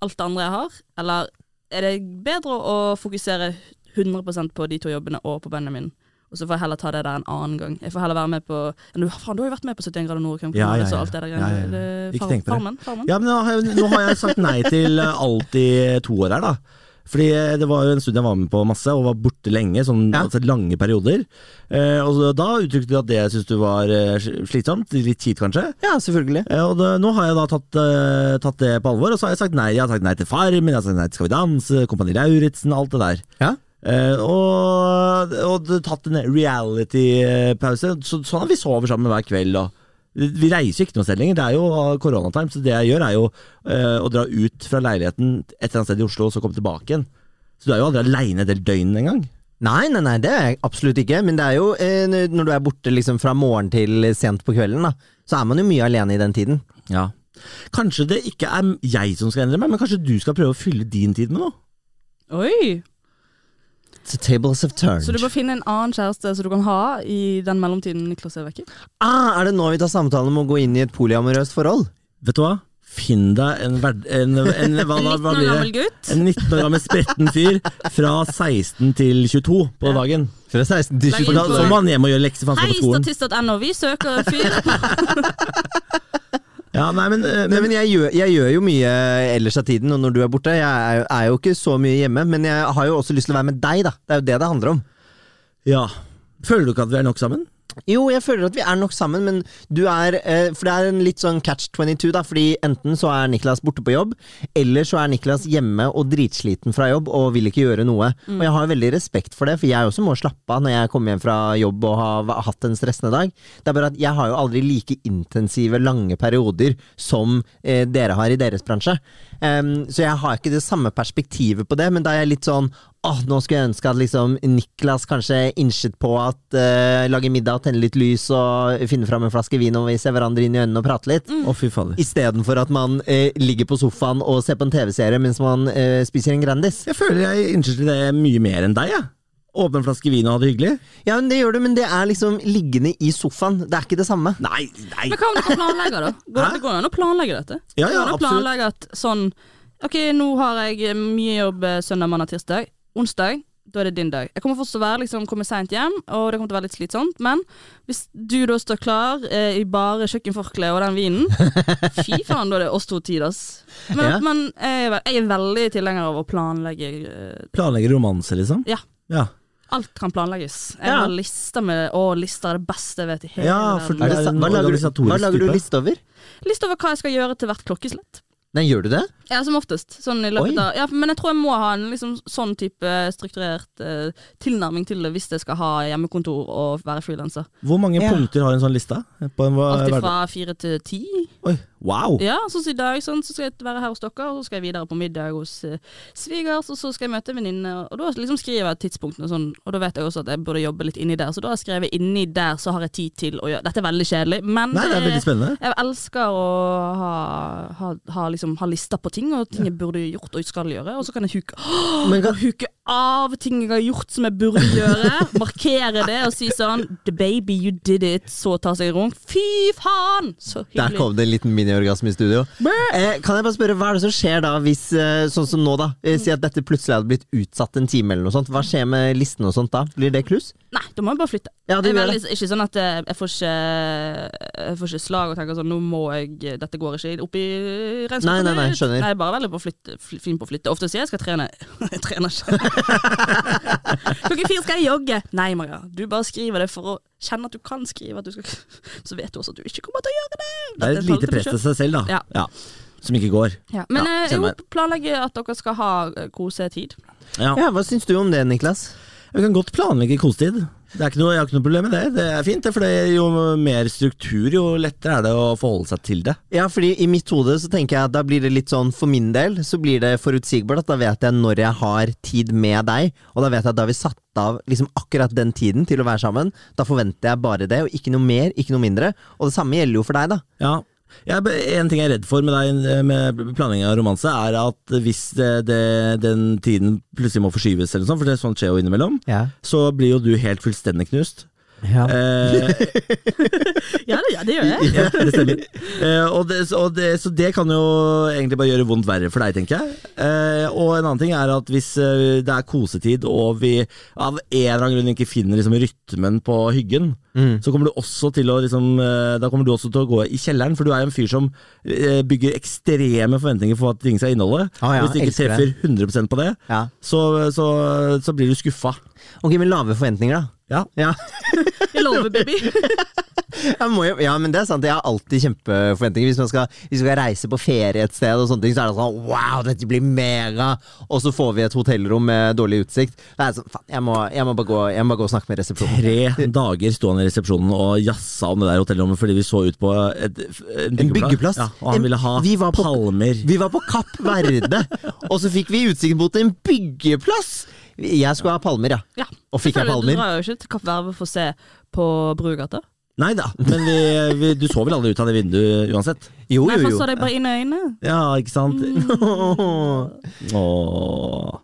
[SPEAKER 4] alt det andre jeg har. Eller er det bedre å fokusere 100 på de to jobbene og på Benjamin? Og så får jeg heller ta det der en annen gang. Jeg får heller være med på Men du, faen, du har jo vært med på 71 grader nord og Camp
[SPEAKER 1] Ja, ja,
[SPEAKER 4] Canaveral
[SPEAKER 1] ja.
[SPEAKER 4] og alt det der.
[SPEAKER 1] Ja, ja, ja.
[SPEAKER 4] greiene. Det-
[SPEAKER 1] Ikke
[SPEAKER 4] Far-
[SPEAKER 1] tenk på det.
[SPEAKER 4] Farmen, farmen.
[SPEAKER 1] Ja, men nå har, jeg, nå har jeg sagt nei til eh, alt i to år her, da. Fordi eh, det var jo en stund jeg var med på masse, og var borte lenge. Sånn,
[SPEAKER 2] Ja.
[SPEAKER 1] altså, lange perioder. Eh, og så, da uttrykte du at det syntes du var eh, sl- slitsomt. Litt kjipt, kanskje.
[SPEAKER 2] Ja, selvfølgelig.
[SPEAKER 1] Eh, og det, nå har jeg da tatt, eh, tatt det på alvor, og så har jeg sagt nei. Jeg har sagt nei til Farmen, jeg har sagt nei til Skal vi danse, Kompani Lauritzen, alt det der.
[SPEAKER 2] Ja.
[SPEAKER 1] Eh, og, og det- tatt en reality-pause. Så, sånn at vi sover sammen hver kveld. Og, vi reiser jo ikke noe sted lenger. Det er jo eh, koronatime, så det jeg gjør, er jo eh, å dra ut fra leiligheten et eller annet sted i Oslo, og så komme tilbake igjen. Så du er jo aldri aleine et helt døgn engang.
[SPEAKER 2] Nei, nei, nei, det er jeg absolutt ikke. Men det er jo eh, når du er borte liksom fra morgen til sent på kvelden, da, så er man jo mye alene i den tiden.
[SPEAKER 1] Ja. Kanskje det ikke er jeg som skal endre meg, men kanskje du skal prøve å fylle din tid med noe?
[SPEAKER 4] Oi!
[SPEAKER 2] The tables have turned.
[SPEAKER 4] Så du må finne en annen kjæreste som du kan ha i den mellomtiden Niklas er vekke?
[SPEAKER 2] ah, er det nå vi tar samtalen om å gå inn i et polyamorøst forhold?
[SPEAKER 1] Vet du hva? Finn deg en, verd- en, en hva,
[SPEAKER 4] En
[SPEAKER 1] hva,
[SPEAKER 4] 19
[SPEAKER 1] hva
[SPEAKER 4] år
[SPEAKER 1] blir
[SPEAKER 4] gammel
[SPEAKER 1] det?
[SPEAKER 4] gutt.
[SPEAKER 1] En 19 år gammel spretten fyr fra 16 til 22 på dagen.
[SPEAKER 2] Fra 16 til
[SPEAKER 4] Legg
[SPEAKER 1] For da,
[SPEAKER 4] inn på-
[SPEAKER 1] så må han hjem og gjøre lekser for han
[SPEAKER 4] Hei,
[SPEAKER 1] skal på skolen.
[SPEAKER 4] statist.no, vi søker en fyr.
[SPEAKER 1] Ja, nei, men, eh,
[SPEAKER 2] Nei,
[SPEAKER 1] men,
[SPEAKER 2] men jeg gjør, jeg gjør jo mye ellers av tiden, og når du er borte. Jeg er, jo- er jo ikke så mye hjemme, men jeg har jo også lyst til å være med deg, da. Det er jo det det handler om.
[SPEAKER 1] ja. Føler du ikke at vi er nok sammen?
[SPEAKER 2] Jo, jeg føler at vi er nok sammen, men du er eh, For det er en litt sånn catch 22, da. Fordi enten så er Niklas borte på jobb, eller så er Niklas hjemme og dritsliten fra jobb og vil ikke gjøre noe. Og jeg har veldig respekt for det, for jeg også må slappe av når jeg kommer hjem fra jobb og har v- hatt en stressende dag. Det er bare at jeg har jo aldri like intensive, lange perioder som eh, dere har i deres bransje. Em, så jeg har ikke det samme perspektivet på det, men da er jeg litt sånn Åh, nå skulle jeg ønske at liksom Niklas kanskje innset på at eh, lage middag, tenne litt lys og finne fram en flaske vin og vi ser hverandre inn i øynene og prate litt.
[SPEAKER 4] Mm.
[SPEAKER 1] Å, fy fader.
[SPEAKER 2] Istedenfor at man eh, ligger på sofaen og ser på en TV-serie mens man eh, spiser en Grandis.
[SPEAKER 1] Jeg føler jeg innser det mye mer enn deg, jeg. Åpne en flaske vin og ha det hyggelig.
[SPEAKER 2] Ja, men Det gjør du, men det er liksom liggende i sofaen. Det er ikke det samme.
[SPEAKER 1] Nei, nei.
[SPEAKER 4] Men hva om dere planlegger, da? Går
[SPEAKER 1] Hæ?
[SPEAKER 4] det går an å planlegge dette?
[SPEAKER 1] Ja, ja,
[SPEAKER 4] Går det an å
[SPEAKER 1] absolutt.
[SPEAKER 4] planlegge at sånn Ok, nå har jeg mye jobb eh, søndag, mandag, tirsdag. Onsdag, da er det din dag. Jeg kommer fortsatt til å være liksom, komme seint hjem, og det kommer til å være litt slitsomt, men hvis du da står klar eh, i bare kjøkkenforkleet og den vinen Fy faen, da er det oss to tid, ass. Men,
[SPEAKER 2] Ja.
[SPEAKER 4] men jeg, er, ve- jeg er veldig tilhenger av å planlegge. eh,
[SPEAKER 1] Planlegge romanse, liksom.
[SPEAKER 4] Ja.
[SPEAKER 1] Ja,
[SPEAKER 4] Alt kan planlegges. Jeg
[SPEAKER 1] Ja.
[SPEAKER 4] har lister med Å, lister er det beste jeg vet i hele
[SPEAKER 1] Ja, for
[SPEAKER 4] verden.
[SPEAKER 1] Det er
[SPEAKER 2] sa-
[SPEAKER 1] en
[SPEAKER 2] hva lager, du, hva
[SPEAKER 1] organisatorisk
[SPEAKER 2] lager du
[SPEAKER 1] type.
[SPEAKER 2] liste over?
[SPEAKER 4] Liste over hva jeg skal gjøre til hvert klokkeslett.
[SPEAKER 2] Nei, gjør du det?
[SPEAKER 4] Ja, som oftest. Sånn i
[SPEAKER 2] Oi.
[SPEAKER 4] løpet av ja, Men jeg tror jeg må ha en liksom, sånn type strukturert eh, tilnærming til det hvis jeg skal ha hjemmekontor og være frilanser.
[SPEAKER 1] Hvor mange
[SPEAKER 2] Ja.
[SPEAKER 1] punkter har en sånn lista? På en hva-
[SPEAKER 4] Alt
[SPEAKER 1] hverdag?
[SPEAKER 4] fra fire til ti.
[SPEAKER 1] Oi, wow!
[SPEAKER 4] Ja, sånn som i dag, sånn, så skal jeg være her hos dere, og så skal jeg videre på middag hos eh, svigers, og så skal jeg møte en venninne, og da liksom skriver jeg tidspunktene og sånn, og da vet jeg også at jeg burde jobbe litt inni der, så da har jeg skrevet inni der, så har jeg tid til å gjøre Dette er veldig kjedelig, men eh,
[SPEAKER 1] Nei, det er veldig spennende.
[SPEAKER 4] jeg elsker å ha, ha, ha, liksom, ha lister på ting, og ting jeg burde gjort og skal gjøre. Og så kan jeg huke, Åh,
[SPEAKER 2] Men kan-
[SPEAKER 4] og huke av ting jeg har gjort som jeg burde gjøre. Markere det og si sånn The baby, you did it. Så ta seg en runk. Fy faen! Så
[SPEAKER 2] Der
[SPEAKER 4] hyggelig.
[SPEAKER 2] kom det en liten miniorgasme i studio. Eh, kan jeg bare spørre, Hva er det som skjer da, hvis eh, sånn som nå, da? Eh, si at dette plutselig hadde blitt utsatt en time, eller noe sånt. Hva skjer med listen og sånt da? Blir det kluss?
[SPEAKER 4] Nei, da må jeg bare flytte.
[SPEAKER 2] Ja, du
[SPEAKER 4] jeg er
[SPEAKER 2] gjør
[SPEAKER 4] veldig, ikke sånn at eh, jeg får ikke, eh, jeg får ikke slag og tenker sånn Nå må jeg Dette går ikke opp i regnskogen.
[SPEAKER 2] Nei, nei, nei,
[SPEAKER 4] ut.
[SPEAKER 2] skjønner.
[SPEAKER 4] Jeg er bare veldig på å flytte, fl- fin på å flytte. Ofte sier jeg skal trene. jeg trener ikke. Klokken fire skal jeg jogge. Nei, Maria. Du bare skriver det for å kjenne at du kan skrive. At du skal, så vet du også at du ikke kommer til å gjøre det.
[SPEAKER 1] Det er et lite press til seg selv, da.
[SPEAKER 4] Ja.
[SPEAKER 1] Ja. Som ikke går.
[SPEAKER 4] Ja. Men
[SPEAKER 1] Ja,
[SPEAKER 4] eh,
[SPEAKER 1] kjenner
[SPEAKER 4] jo, planlegge at dere skal ha eh, kosetid.
[SPEAKER 1] Ja.
[SPEAKER 2] Ja, Hva syns du om det, Niklas?
[SPEAKER 1] Vi kan godt planlegge kosetid. Det er ikke noe, jeg har ikke noe problem med det. Det er fint, det, for det er jo mer struktur, jo lettere er det å forholde seg til det.
[SPEAKER 2] Ja, fordi I mitt hode så tenker jeg at da blir det litt sånn for min del så blir det forutsigbart. at Da vet jeg når jeg har tid med deg, og da vet jeg at da har vi satt av liksom akkurat den tiden til å være sammen. Da forventer jeg bare det, og ikke noe mer, ikke noe mindre. Og det samme gjelder jo for deg, da.
[SPEAKER 1] Ja. Jeg, er- en ting jeg er redd for med deg eh, med planlegging av romanse, er at hvis det, det, den tiden plutselig må forskyves, eller noe sånt, for det sånt skjer jo innimellom,
[SPEAKER 2] Ja.
[SPEAKER 1] så blir jo du helt fullstendig knust. Eh,
[SPEAKER 4] Ja, det, ja, det gjør jeg.
[SPEAKER 1] Ja, det stemmer. Eh, og det, så- og det, så det kan jo egentlig bare gjøre vondt verre for deg, tenker jeg. Eh, og en annen ting er at hvis eh, det er kosetid, og vi av en eller annen grunn ikke finner liksom, rytmen på hyggen,
[SPEAKER 2] Mm.
[SPEAKER 1] så kommer du også til å liksom, eh, Da kommer du også til å gå i kjelleren, for du er jo en fyr som eh, bygger ekstreme forventninger for hva ting skal inneholde.
[SPEAKER 2] Ah, ja,
[SPEAKER 1] hvis du ikke
[SPEAKER 2] elsker
[SPEAKER 1] treffer
[SPEAKER 2] det.
[SPEAKER 1] 100 på det,
[SPEAKER 2] Ja.
[SPEAKER 1] så, så, så blir du skuffa.
[SPEAKER 2] Ok, men lave forventninger, da.
[SPEAKER 1] Ja.
[SPEAKER 2] Ja.
[SPEAKER 4] Jeg lover, baby.
[SPEAKER 2] Jeg må jo, ja, men det er sant. Jeg har alltid kjempeforventninger. Hvis man skal, hvis vi skal reise på ferie et sted, og sånne ting, så er det sånn Wow, dette blir mega! Og så får vi et hotellrom med dårlig utsikt. Det er sånn, faen, jeg må, jeg må, bare, gå, jeg må bare gå og snakke med resepsjonen.
[SPEAKER 1] Tre dager sto han i resepsjonen og jassa om det der hotellrommet fordi vi så ut på et, en byggeplass.
[SPEAKER 2] En byggeplass.
[SPEAKER 1] Ja, og han
[SPEAKER 2] En-
[SPEAKER 1] ville ha
[SPEAKER 2] vi var på-
[SPEAKER 1] palmer.
[SPEAKER 2] Vi var på Kapp Verde, og så fikk vi utsikt mot en byggeplass! Jeg skulle ha palmer, ja.
[SPEAKER 4] Ja.
[SPEAKER 2] Og fikk jeg
[SPEAKER 4] Selvfølgelig,
[SPEAKER 2] palmer?
[SPEAKER 4] Du drar jo ikke til Kapp Verve for å se på Brugata.
[SPEAKER 1] Nei da, men vi, vi, du så vel aldri ut av det vinduet uansett?
[SPEAKER 2] Jo,
[SPEAKER 4] Nei,
[SPEAKER 2] jo,
[SPEAKER 4] for
[SPEAKER 2] jo.
[SPEAKER 4] så deg bare inn i øynene.
[SPEAKER 1] Ja, ikke sant?
[SPEAKER 2] Mm.
[SPEAKER 1] Åh.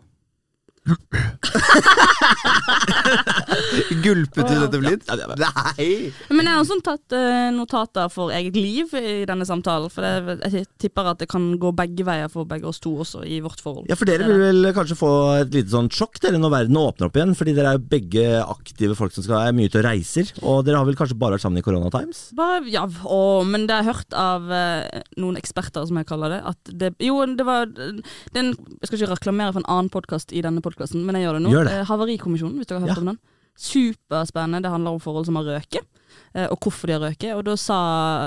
[SPEAKER 2] Gulpet du dette blitt?
[SPEAKER 1] Ja, det var-
[SPEAKER 2] Nei!
[SPEAKER 4] Men jeg har også tatt eh, notater for eget liv i denne samtalen, for det, jeg tipper at det kan gå begge veier for begge oss to også i vårt forhold.
[SPEAKER 1] Ja, for dere vil vel kanskje få et lite sånn sjokk dere når verden åpner opp igjen? Fordi dere er jo begge aktive folk som skal er mye ute og reiser. Og dere har vel kanskje bare vært sammen i Corona Times?
[SPEAKER 4] Bare, ja, å, men det har jeg hørt av eh, noen eksperter, som jeg kaller det, at det Jo, det var den, Jeg skal ikke reklamere for en annen podkast i denne podkasten, men jeg gjør det nå.
[SPEAKER 1] Gjør det.
[SPEAKER 4] Eh, Havarikommisjonen, hvis dere har hørt
[SPEAKER 1] Ja.
[SPEAKER 4] om den. Superspennende. Det handler om forhold som har røket, eh, og hvorfor de har røket. Og da sa,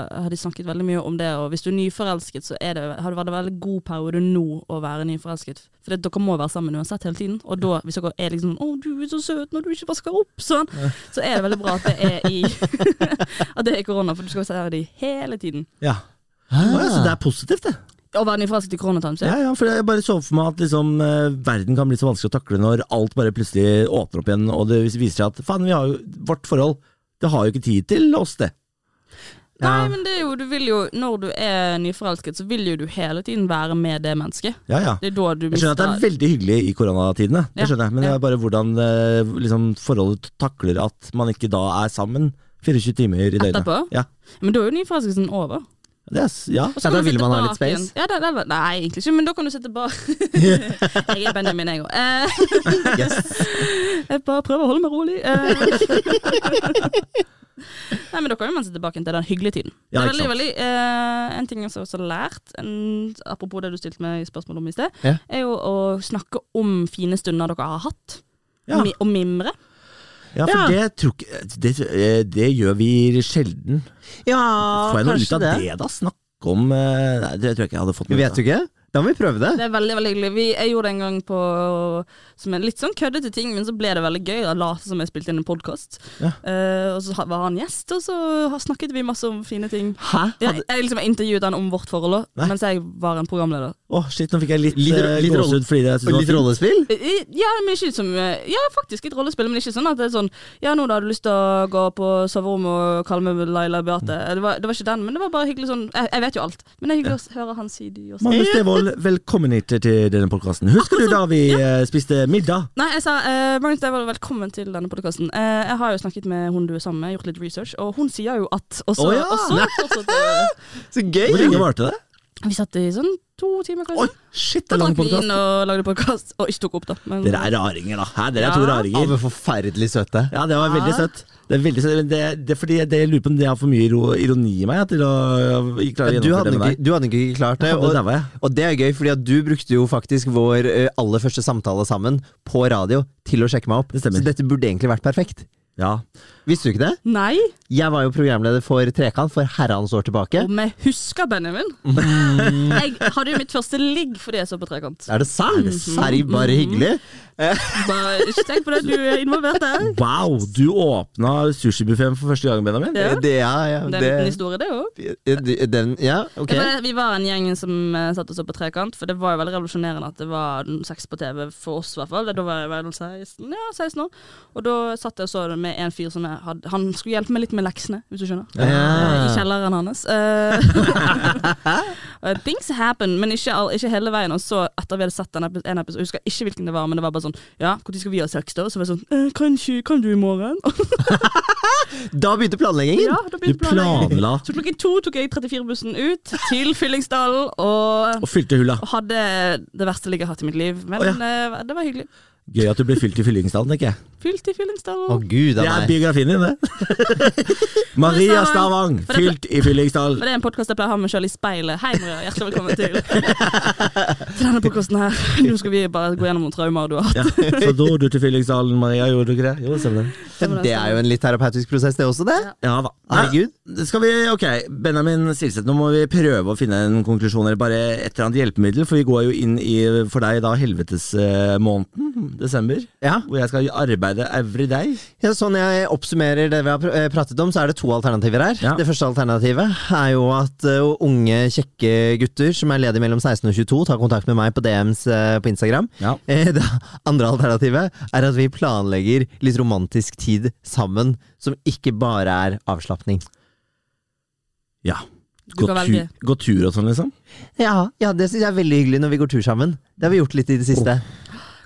[SPEAKER 4] har de snakket veldig mye om det, og hvis du er nyforelsket, så er det, har det vært en veldig god periode nå å være nyforelsket. For det, dere må være sammen uansett hele tiden. Og da, hvis dere er liksom sånn 'Å, du er så søt når du ikke vasker opp', sånn, så er det veldig bra at det er i At det er i korona, for du skal se det hele tiden.
[SPEAKER 2] Ah.
[SPEAKER 1] Ja. Å, ja, så det er positivt, det.
[SPEAKER 4] Å vende fra seg til Kronotime.
[SPEAKER 1] Ja, ja, for jeg bare så for meg at liksom, eh, verden kan bli så vanskelig å takle når alt bare plutselig åpner opp igjen, og det viser seg at faen, vi har jo vårt forhold. Det har jo ikke tid til oss, det.
[SPEAKER 4] Nei, men det er jo, du vil jo, når du er nyforelsket, så vil jo du hele tiden være med det mennesket.
[SPEAKER 1] Ja, ja.
[SPEAKER 4] Det er da du
[SPEAKER 1] Jeg skjønner at det er veldig hyggelig i koronatidene, det
[SPEAKER 4] Ja,
[SPEAKER 1] skjønner jeg, men det
[SPEAKER 4] ja.
[SPEAKER 1] er bare hvordan eh, liksom, forholdet takler at man ikke da er sammen 24 timer i døgnet.
[SPEAKER 4] Etterpå?
[SPEAKER 1] Ja.
[SPEAKER 4] Men da er jo nyforelskelsen over.
[SPEAKER 1] Det er, s- ja.
[SPEAKER 4] Og så
[SPEAKER 2] Ja, da
[SPEAKER 4] kan du se
[SPEAKER 2] vil man ha litt
[SPEAKER 4] tilbake
[SPEAKER 2] space.
[SPEAKER 4] igjen. Ja, da, da, nei, egentlig ikke, men da kan du se tilbake. jeg er Benjamin, jeg òg. Eh, jeg bare prøver å holde meg rolig. Eh. Nei, men Da kan jo man se tilbake til den hyggelige tiden.
[SPEAKER 1] Ja,
[SPEAKER 4] det er
[SPEAKER 1] ikke
[SPEAKER 4] veldig,
[SPEAKER 1] sant.
[SPEAKER 4] veldig, eh, En ting jeg også har lært, en, apropos det du stilte meg spørsmål om i sted,
[SPEAKER 2] Ja.
[SPEAKER 4] er jo å snakke om fine stunder dere har hatt,
[SPEAKER 1] Ja.
[SPEAKER 4] Mi- og mimre.
[SPEAKER 1] ja, for det tror ikke det, eh, det gjør vi sjelden.
[SPEAKER 2] Ja,
[SPEAKER 1] Får jeg noe ut
[SPEAKER 2] kanskje
[SPEAKER 1] av
[SPEAKER 2] det.
[SPEAKER 1] det, da? Snakke om eh, Nei, det tror jeg ikke jeg hadde fått
[SPEAKER 2] Vi vet jo
[SPEAKER 1] av.
[SPEAKER 2] ikke. Da må vi prøve det.
[SPEAKER 4] Det er veldig, veldig hyggelig. Vi, jeg gjorde det en gang på som en litt sånn køddete ting, men så ble det veldig gøy. Jeg lot som jeg spilte inn en podkast,
[SPEAKER 1] Ja.
[SPEAKER 4] og så ha- var han gjest, og så har- snakket vi masse om fine ting.
[SPEAKER 2] Hæ?
[SPEAKER 4] Jeg, jeg liksom intervjuet han om vårt forhold også,
[SPEAKER 1] Nei.
[SPEAKER 4] mens jeg var en programleder.
[SPEAKER 1] Å, shit, nå fikk jeg litt,
[SPEAKER 2] Litt-
[SPEAKER 1] eh,
[SPEAKER 2] litt rolle-
[SPEAKER 1] gåsehud fordi det jeg synes det
[SPEAKER 2] Og
[SPEAKER 1] var
[SPEAKER 2] litt
[SPEAKER 1] fint.
[SPEAKER 2] rollespill?
[SPEAKER 4] I- i- Ja, men ikke som, eh, ja, faktisk et rollespill, men ikke sånn at det er sånn Ja, nå da har du lyst til å gå på soverommet og kalle meg Laila
[SPEAKER 1] Mm.
[SPEAKER 4] Beate. Det var, det var ikke den, men det var bare hyggelig sånn Jeg, jeg vet jo alt, men det er hyggelig å høre hans side. også.
[SPEAKER 1] Magnus Devold, velkommen hit til denne podkasten. Husker du da vi eh, spiste middag?
[SPEAKER 4] Nei, jeg sa eh, Magnus Devold, velkommen til denne podkasten. jeg har jo snakket med hun du er sammen med, gjort litt research, og hun sier jo at Og så
[SPEAKER 1] Å ja!
[SPEAKER 4] og så fortsatte
[SPEAKER 2] Så gøy!
[SPEAKER 1] Hvor lenge varte det?
[SPEAKER 4] eh, Vi satt i sånn to timer, kanskje.
[SPEAKER 1] Oi, shit, det
[SPEAKER 4] Da
[SPEAKER 1] er lang
[SPEAKER 4] drakk vi
[SPEAKER 1] podkast.
[SPEAKER 4] inn og lagde podkast, og ikke tok opp, da. Men
[SPEAKER 1] Dere er raringer, da. Hæ, dere er to
[SPEAKER 4] Ja.
[SPEAKER 2] Ja,
[SPEAKER 1] raringer.
[SPEAKER 2] men forferdelig søte.
[SPEAKER 1] Ja, det var veldig søtt. Det er veldig søtt. men Det, det er fordi jeg, det, jeg lurer på om det har for mye iro- ironi i meg ja, til å ikke klare å
[SPEAKER 2] Du
[SPEAKER 1] gjennomføre
[SPEAKER 2] hadde,
[SPEAKER 1] det med
[SPEAKER 2] ikke,
[SPEAKER 1] deg.
[SPEAKER 2] du hadde ikke klart det.
[SPEAKER 1] Jeg hadde
[SPEAKER 2] Og,
[SPEAKER 1] daua, jeg.
[SPEAKER 2] og det er gøy, fordi at du brukte jo faktisk vår eh, aller første samtale sammen på radio til å sjekke meg opp.
[SPEAKER 1] Det stemmer.
[SPEAKER 2] Så dette burde egentlig vært perfekt.
[SPEAKER 1] Ja.
[SPEAKER 2] Visste du ikke det?
[SPEAKER 4] Nei,
[SPEAKER 2] Jeg var jo programleder for Trekant for herrens år tilbake.
[SPEAKER 4] om jeg husker Benjamin.
[SPEAKER 1] Mm.
[SPEAKER 4] jeg hadde jo mitt første ligg fordi jeg så på Trekant.
[SPEAKER 2] Er det sant?
[SPEAKER 4] Mhm.
[SPEAKER 2] Er det bare hyggelig?
[SPEAKER 4] Bare ikke tenk på det, du er involvert der.
[SPEAKER 1] Wow, du åpna sushibuffeen for første gang, Benjamin.
[SPEAKER 4] Ja.
[SPEAKER 2] Det, ja, ja,
[SPEAKER 4] Det er en liten
[SPEAKER 2] det,
[SPEAKER 4] historie, det òg.
[SPEAKER 2] det- den, ja, ok.
[SPEAKER 4] Det var- Vi var en gjeng som eh, satt og så på Trekant, for det var jo veldig revolusjonerende at det var sex på TV, for oss i hvert fall. Da var jeg vel 16, ja, 16 år. Og da satt jeg og så det med en fyr som jeg hadde Han skulle hjelpe meg litt med leksene, hvis du skjønner.
[SPEAKER 2] Ja.
[SPEAKER 4] Eh, I kjelleren hans. Eh, eh, things happen, men ikke, all, ikke hele veien. Og så, etter vi hadde sett den epi- en episode, jeg husker ikke hvilken det var, men det var bare sånn Ja, når skal vi ha sex, da? Og så var jeg sånn eh, Kanskje, kan du i morgen?
[SPEAKER 2] Da begynte planleggingen.
[SPEAKER 4] ja, da
[SPEAKER 1] Du
[SPEAKER 4] begynte planleggingen.
[SPEAKER 1] planla
[SPEAKER 4] Så klokken to tok jeg 34-bussen ut til Fyllingsdalen og
[SPEAKER 1] og fylte hulla.
[SPEAKER 4] og hadde det verste ligget jeg har hatt i mitt liv. Men
[SPEAKER 1] Å,
[SPEAKER 4] eh, det var hyggelig.
[SPEAKER 1] Gøy at du ble fylt i fyllingsdalen, tenker jeg.
[SPEAKER 4] Fylt i Fyllingsdalen.
[SPEAKER 2] Å gud
[SPEAKER 1] Det
[SPEAKER 2] av
[SPEAKER 1] er
[SPEAKER 2] meg.
[SPEAKER 1] biografien din, det. Maria Stavang, fylt i
[SPEAKER 4] Men
[SPEAKER 1] fyllingsdalen.
[SPEAKER 4] det er en podkast jeg pleier å ha med sjøl i speilet. Hei, Maria. Hjertelig velkommen til Til denne podkasten her. Nå skal vi bare gå gjennom noen traumer du har hatt.
[SPEAKER 1] Ja. Så dro du til fyllingsdalen, Maria. Gjorde du ikke det? Jo, stemmer det.
[SPEAKER 2] Det er jo en litt terapeutisk prosess, det også, det.
[SPEAKER 1] Ja da.
[SPEAKER 2] Herregud.
[SPEAKER 1] Nei, Skal vi, ok, Benjamin Silseth, nå må vi prøve å finne en konklusjon, eller bare et eller annet hjelpemiddel, for vi går jo inn i, for deg da, helvetesmåneden, desember,
[SPEAKER 2] Ja.
[SPEAKER 1] hvor jeg skal arbeide every day.
[SPEAKER 2] Ja, sånn jeg oppsummerer det vi har pr- eh, pratet om, så er det to alternativer her.
[SPEAKER 1] Ja.
[SPEAKER 2] Det første alternativet er jo at eh, unge, kjekke gutter som er ledige mellom 16 og 22, tar kontakt med meg på DMs eh, på Instagram.
[SPEAKER 1] Ja.
[SPEAKER 2] Eh, Det andre alternativet er at vi planlegger litt romantisk tid sammen, som ikke bare er avslapning.
[SPEAKER 1] Ja.
[SPEAKER 4] Du
[SPEAKER 1] Gå,
[SPEAKER 4] kan
[SPEAKER 1] tu,
[SPEAKER 4] velge.
[SPEAKER 1] gå tur og sånn, liksom.
[SPEAKER 2] Ja, ja det syns jeg er veldig hyggelig når vi går tur sammen. Det har vi gjort litt i det siste.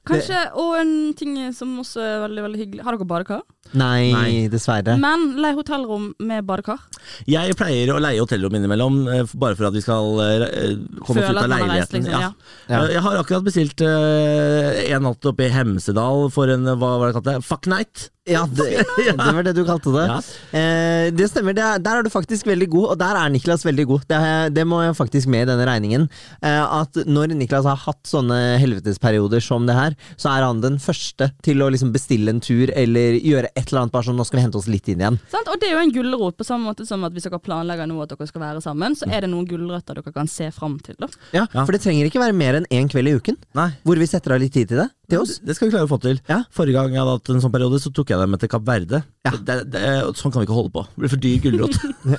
[SPEAKER 4] Kanskje, og en ting som også er veldig veldig hyggelig Har dere badekar?
[SPEAKER 2] Nei,
[SPEAKER 1] Nei.
[SPEAKER 2] dessverre.
[SPEAKER 4] Men lei hotellrom med badekar.
[SPEAKER 1] Jeg pleier å leie hotellrom innimellom, eh, f- bare for at vi skal eh, komme oss
[SPEAKER 4] Føle
[SPEAKER 1] ut av
[SPEAKER 4] at man har reist,
[SPEAKER 1] leiligheten.
[SPEAKER 4] liksom, ja.
[SPEAKER 2] Ja.
[SPEAKER 1] Eh, Jeg har akkurat bestilt eh, en natt oppe i Hemsedal for en, eh, hva var det jeg kalte det, fuck night.
[SPEAKER 2] Ja, det, det var det du kalte det.
[SPEAKER 1] Ja.
[SPEAKER 2] Eh, det stemmer. Det er, der er du faktisk veldig god, og der er Niklas veldig god. Det, er- det må jeg faktisk med i denne regningen. Eh, at når Niklas har hatt sånne helvetesperioder som det her, så er han den første til å liksom bestille en tur eller gjøre et eller annet bare sånn 'nå skal vi hente oss litt inn igjen'.
[SPEAKER 4] Sant? Og det er jo en gulrot, på samme måte som at hvis dere planlegger nå at dere skal være sammen, så er det noen gulrøtter dere kan se fram til. da.
[SPEAKER 2] Ja,
[SPEAKER 1] Ja.
[SPEAKER 2] For det trenger ikke være mer enn én kveld i uken
[SPEAKER 1] Nei.
[SPEAKER 2] hvor vi setter av litt tid til det. til oss.
[SPEAKER 1] Det skal vi klare å få til.
[SPEAKER 2] Ja.
[SPEAKER 1] Forrige gang jeg hadde hatt en sånn periode, så tok jeg dem med til Kapp Verde.
[SPEAKER 2] Ja.
[SPEAKER 1] Det, det, sånn kan vi ikke holde på. Det blir for dyr gulrot.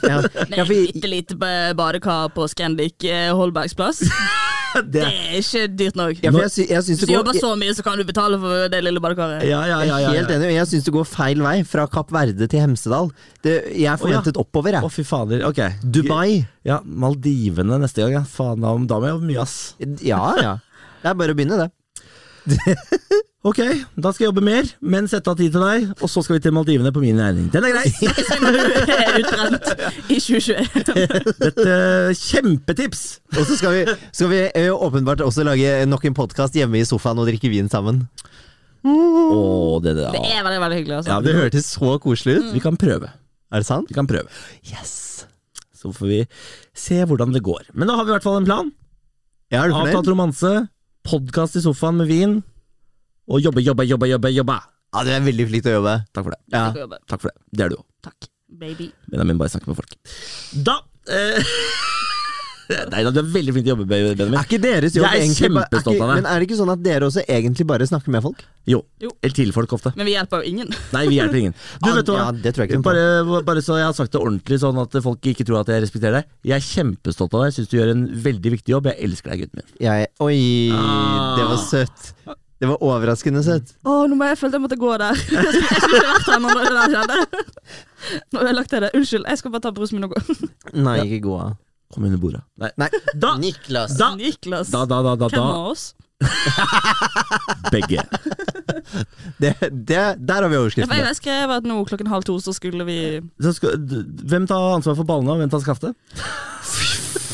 [SPEAKER 2] Ja, ja, for,
[SPEAKER 4] Bitte lite ba- badekar på Scandic eh, Holbergs plass. Det
[SPEAKER 1] Det-
[SPEAKER 4] er ikke dyrt nok.
[SPEAKER 2] ja, for jeg, sy jeg syns
[SPEAKER 4] Hvis
[SPEAKER 2] det
[SPEAKER 4] du
[SPEAKER 2] går
[SPEAKER 4] jobber så mye, så kan du betale for det lille badekaret.
[SPEAKER 1] Ja, ja,
[SPEAKER 2] jeg
[SPEAKER 1] ja.
[SPEAKER 2] er
[SPEAKER 1] ja,
[SPEAKER 2] helt
[SPEAKER 1] ja.
[SPEAKER 2] enig, og jeg syns det går feil vei, fra Kapp Verde til Hemsedal. Det, jeg forventet oppover,
[SPEAKER 1] Å,
[SPEAKER 2] jeg.
[SPEAKER 1] fy fader. Ok.
[SPEAKER 2] Dubai.
[SPEAKER 1] Ja, Maldivene neste gang, ja. Faen, da da må jeg jobbe mye, ass.
[SPEAKER 2] Ja, ja. Det er bare å begynne, det.
[SPEAKER 1] Ok, da skal jeg jobbe mer, men sette av tid til deg, og så skal vi til Maldivene på min regning. Den er grei!
[SPEAKER 4] er utbrent i 2021.
[SPEAKER 1] Dette eh, kjempetips!
[SPEAKER 2] Og så skal vi, skal vi ø, åpenbart også lage nok en podkast hjemme i sofaen og drikke vin sammen.
[SPEAKER 1] Å, det der.
[SPEAKER 4] Det er veldig veldig hyggelig. altså.
[SPEAKER 1] Ja,
[SPEAKER 2] Det
[SPEAKER 1] det hører.
[SPEAKER 2] hørtes så koselig ut.
[SPEAKER 1] Vi kan prøve.
[SPEAKER 2] Er det sant?
[SPEAKER 1] Vi kan prøve.
[SPEAKER 2] Yes!
[SPEAKER 1] Så får vi se hvordan det går. Men da har vi i hvert fall en plan.
[SPEAKER 2] Ja, er du
[SPEAKER 1] Avtalt
[SPEAKER 2] fornøyd?
[SPEAKER 1] romanse, podkast i sofaen med vin, og jobbe, jobbe, jobbe, jobbe. jobbe.
[SPEAKER 2] Ja, du er veldig flink til å jobbe.
[SPEAKER 1] Takk for det.
[SPEAKER 2] Ja.
[SPEAKER 4] Takk for jobben.
[SPEAKER 1] Takk for det. Det er du òg.
[SPEAKER 4] Takk, baby.
[SPEAKER 1] Benjamin bare snakker med folk. Da eh, Nei da, du er veldig flink til å jobbe, Benjamin.
[SPEAKER 2] Er ikke deres jobb
[SPEAKER 1] Jeg er
[SPEAKER 2] egentlig bare-
[SPEAKER 1] kjempestolt
[SPEAKER 2] ikke-
[SPEAKER 1] av deg.
[SPEAKER 2] Men er det ikke sånn at dere også egentlig bare snakker med folk?
[SPEAKER 1] Jo.
[SPEAKER 4] Jo.
[SPEAKER 1] Eller til folk ofte.
[SPEAKER 4] Men vi hjelper jo ingen.
[SPEAKER 1] Nei, vi hjelper ingen. Du,
[SPEAKER 2] Ja,
[SPEAKER 1] vet du hva?
[SPEAKER 2] Ah, ja, det tror jeg ikke noe på.
[SPEAKER 1] bare, bare så jeg har sagt det ordentlig, sånn at folk ikke tror at jeg respekterer deg. Jeg er kjempestolt av deg. Jeg syns du gjør en veldig viktig jobb. Jeg elsker deg, gutten min.
[SPEAKER 2] Jeg, oi,
[SPEAKER 1] Ah.
[SPEAKER 2] det var søtt. Det var overraskende søtt.
[SPEAKER 4] Å, nå må jeg følte jeg måtte gå der. Jeg skulle ikke vært her når det der skjedde. Nå ødelagte jeg det. Unnskyld, jeg skal bare ta brusen min og gå.
[SPEAKER 2] Nei, ikke gå av.
[SPEAKER 1] Kom under bordet. Nei.
[SPEAKER 2] Nei,
[SPEAKER 1] Da-
[SPEAKER 2] Niklas.
[SPEAKER 1] Da,
[SPEAKER 4] Niklas.
[SPEAKER 1] da, da, da, da,
[SPEAKER 4] Hvem
[SPEAKER 1] da.
[SPEAKER 4] av oss?
[SPEAKER 1] Begge.
[SPEAKER 2] Det, det, der har vi
[SPEAKER 4] Ja, for
[SPEAKER 2] overskriften.
[SPEAKER 4] Jeg skrev at nå klokken halv to så skulle vi Jeg
[SPEAKER 1] Så skal, d- hvem tar ansvar for ballene, og hvem tar skaftet?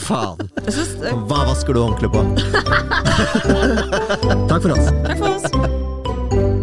[SPEAKER 2] Faen.
[SPEAKER 4] synes, eh,
[SPEAKER 2] Hva vasker du håndkle på?
[SPEAKER 1] Takk for oss.
[SPEAKER 4] Takk for oss.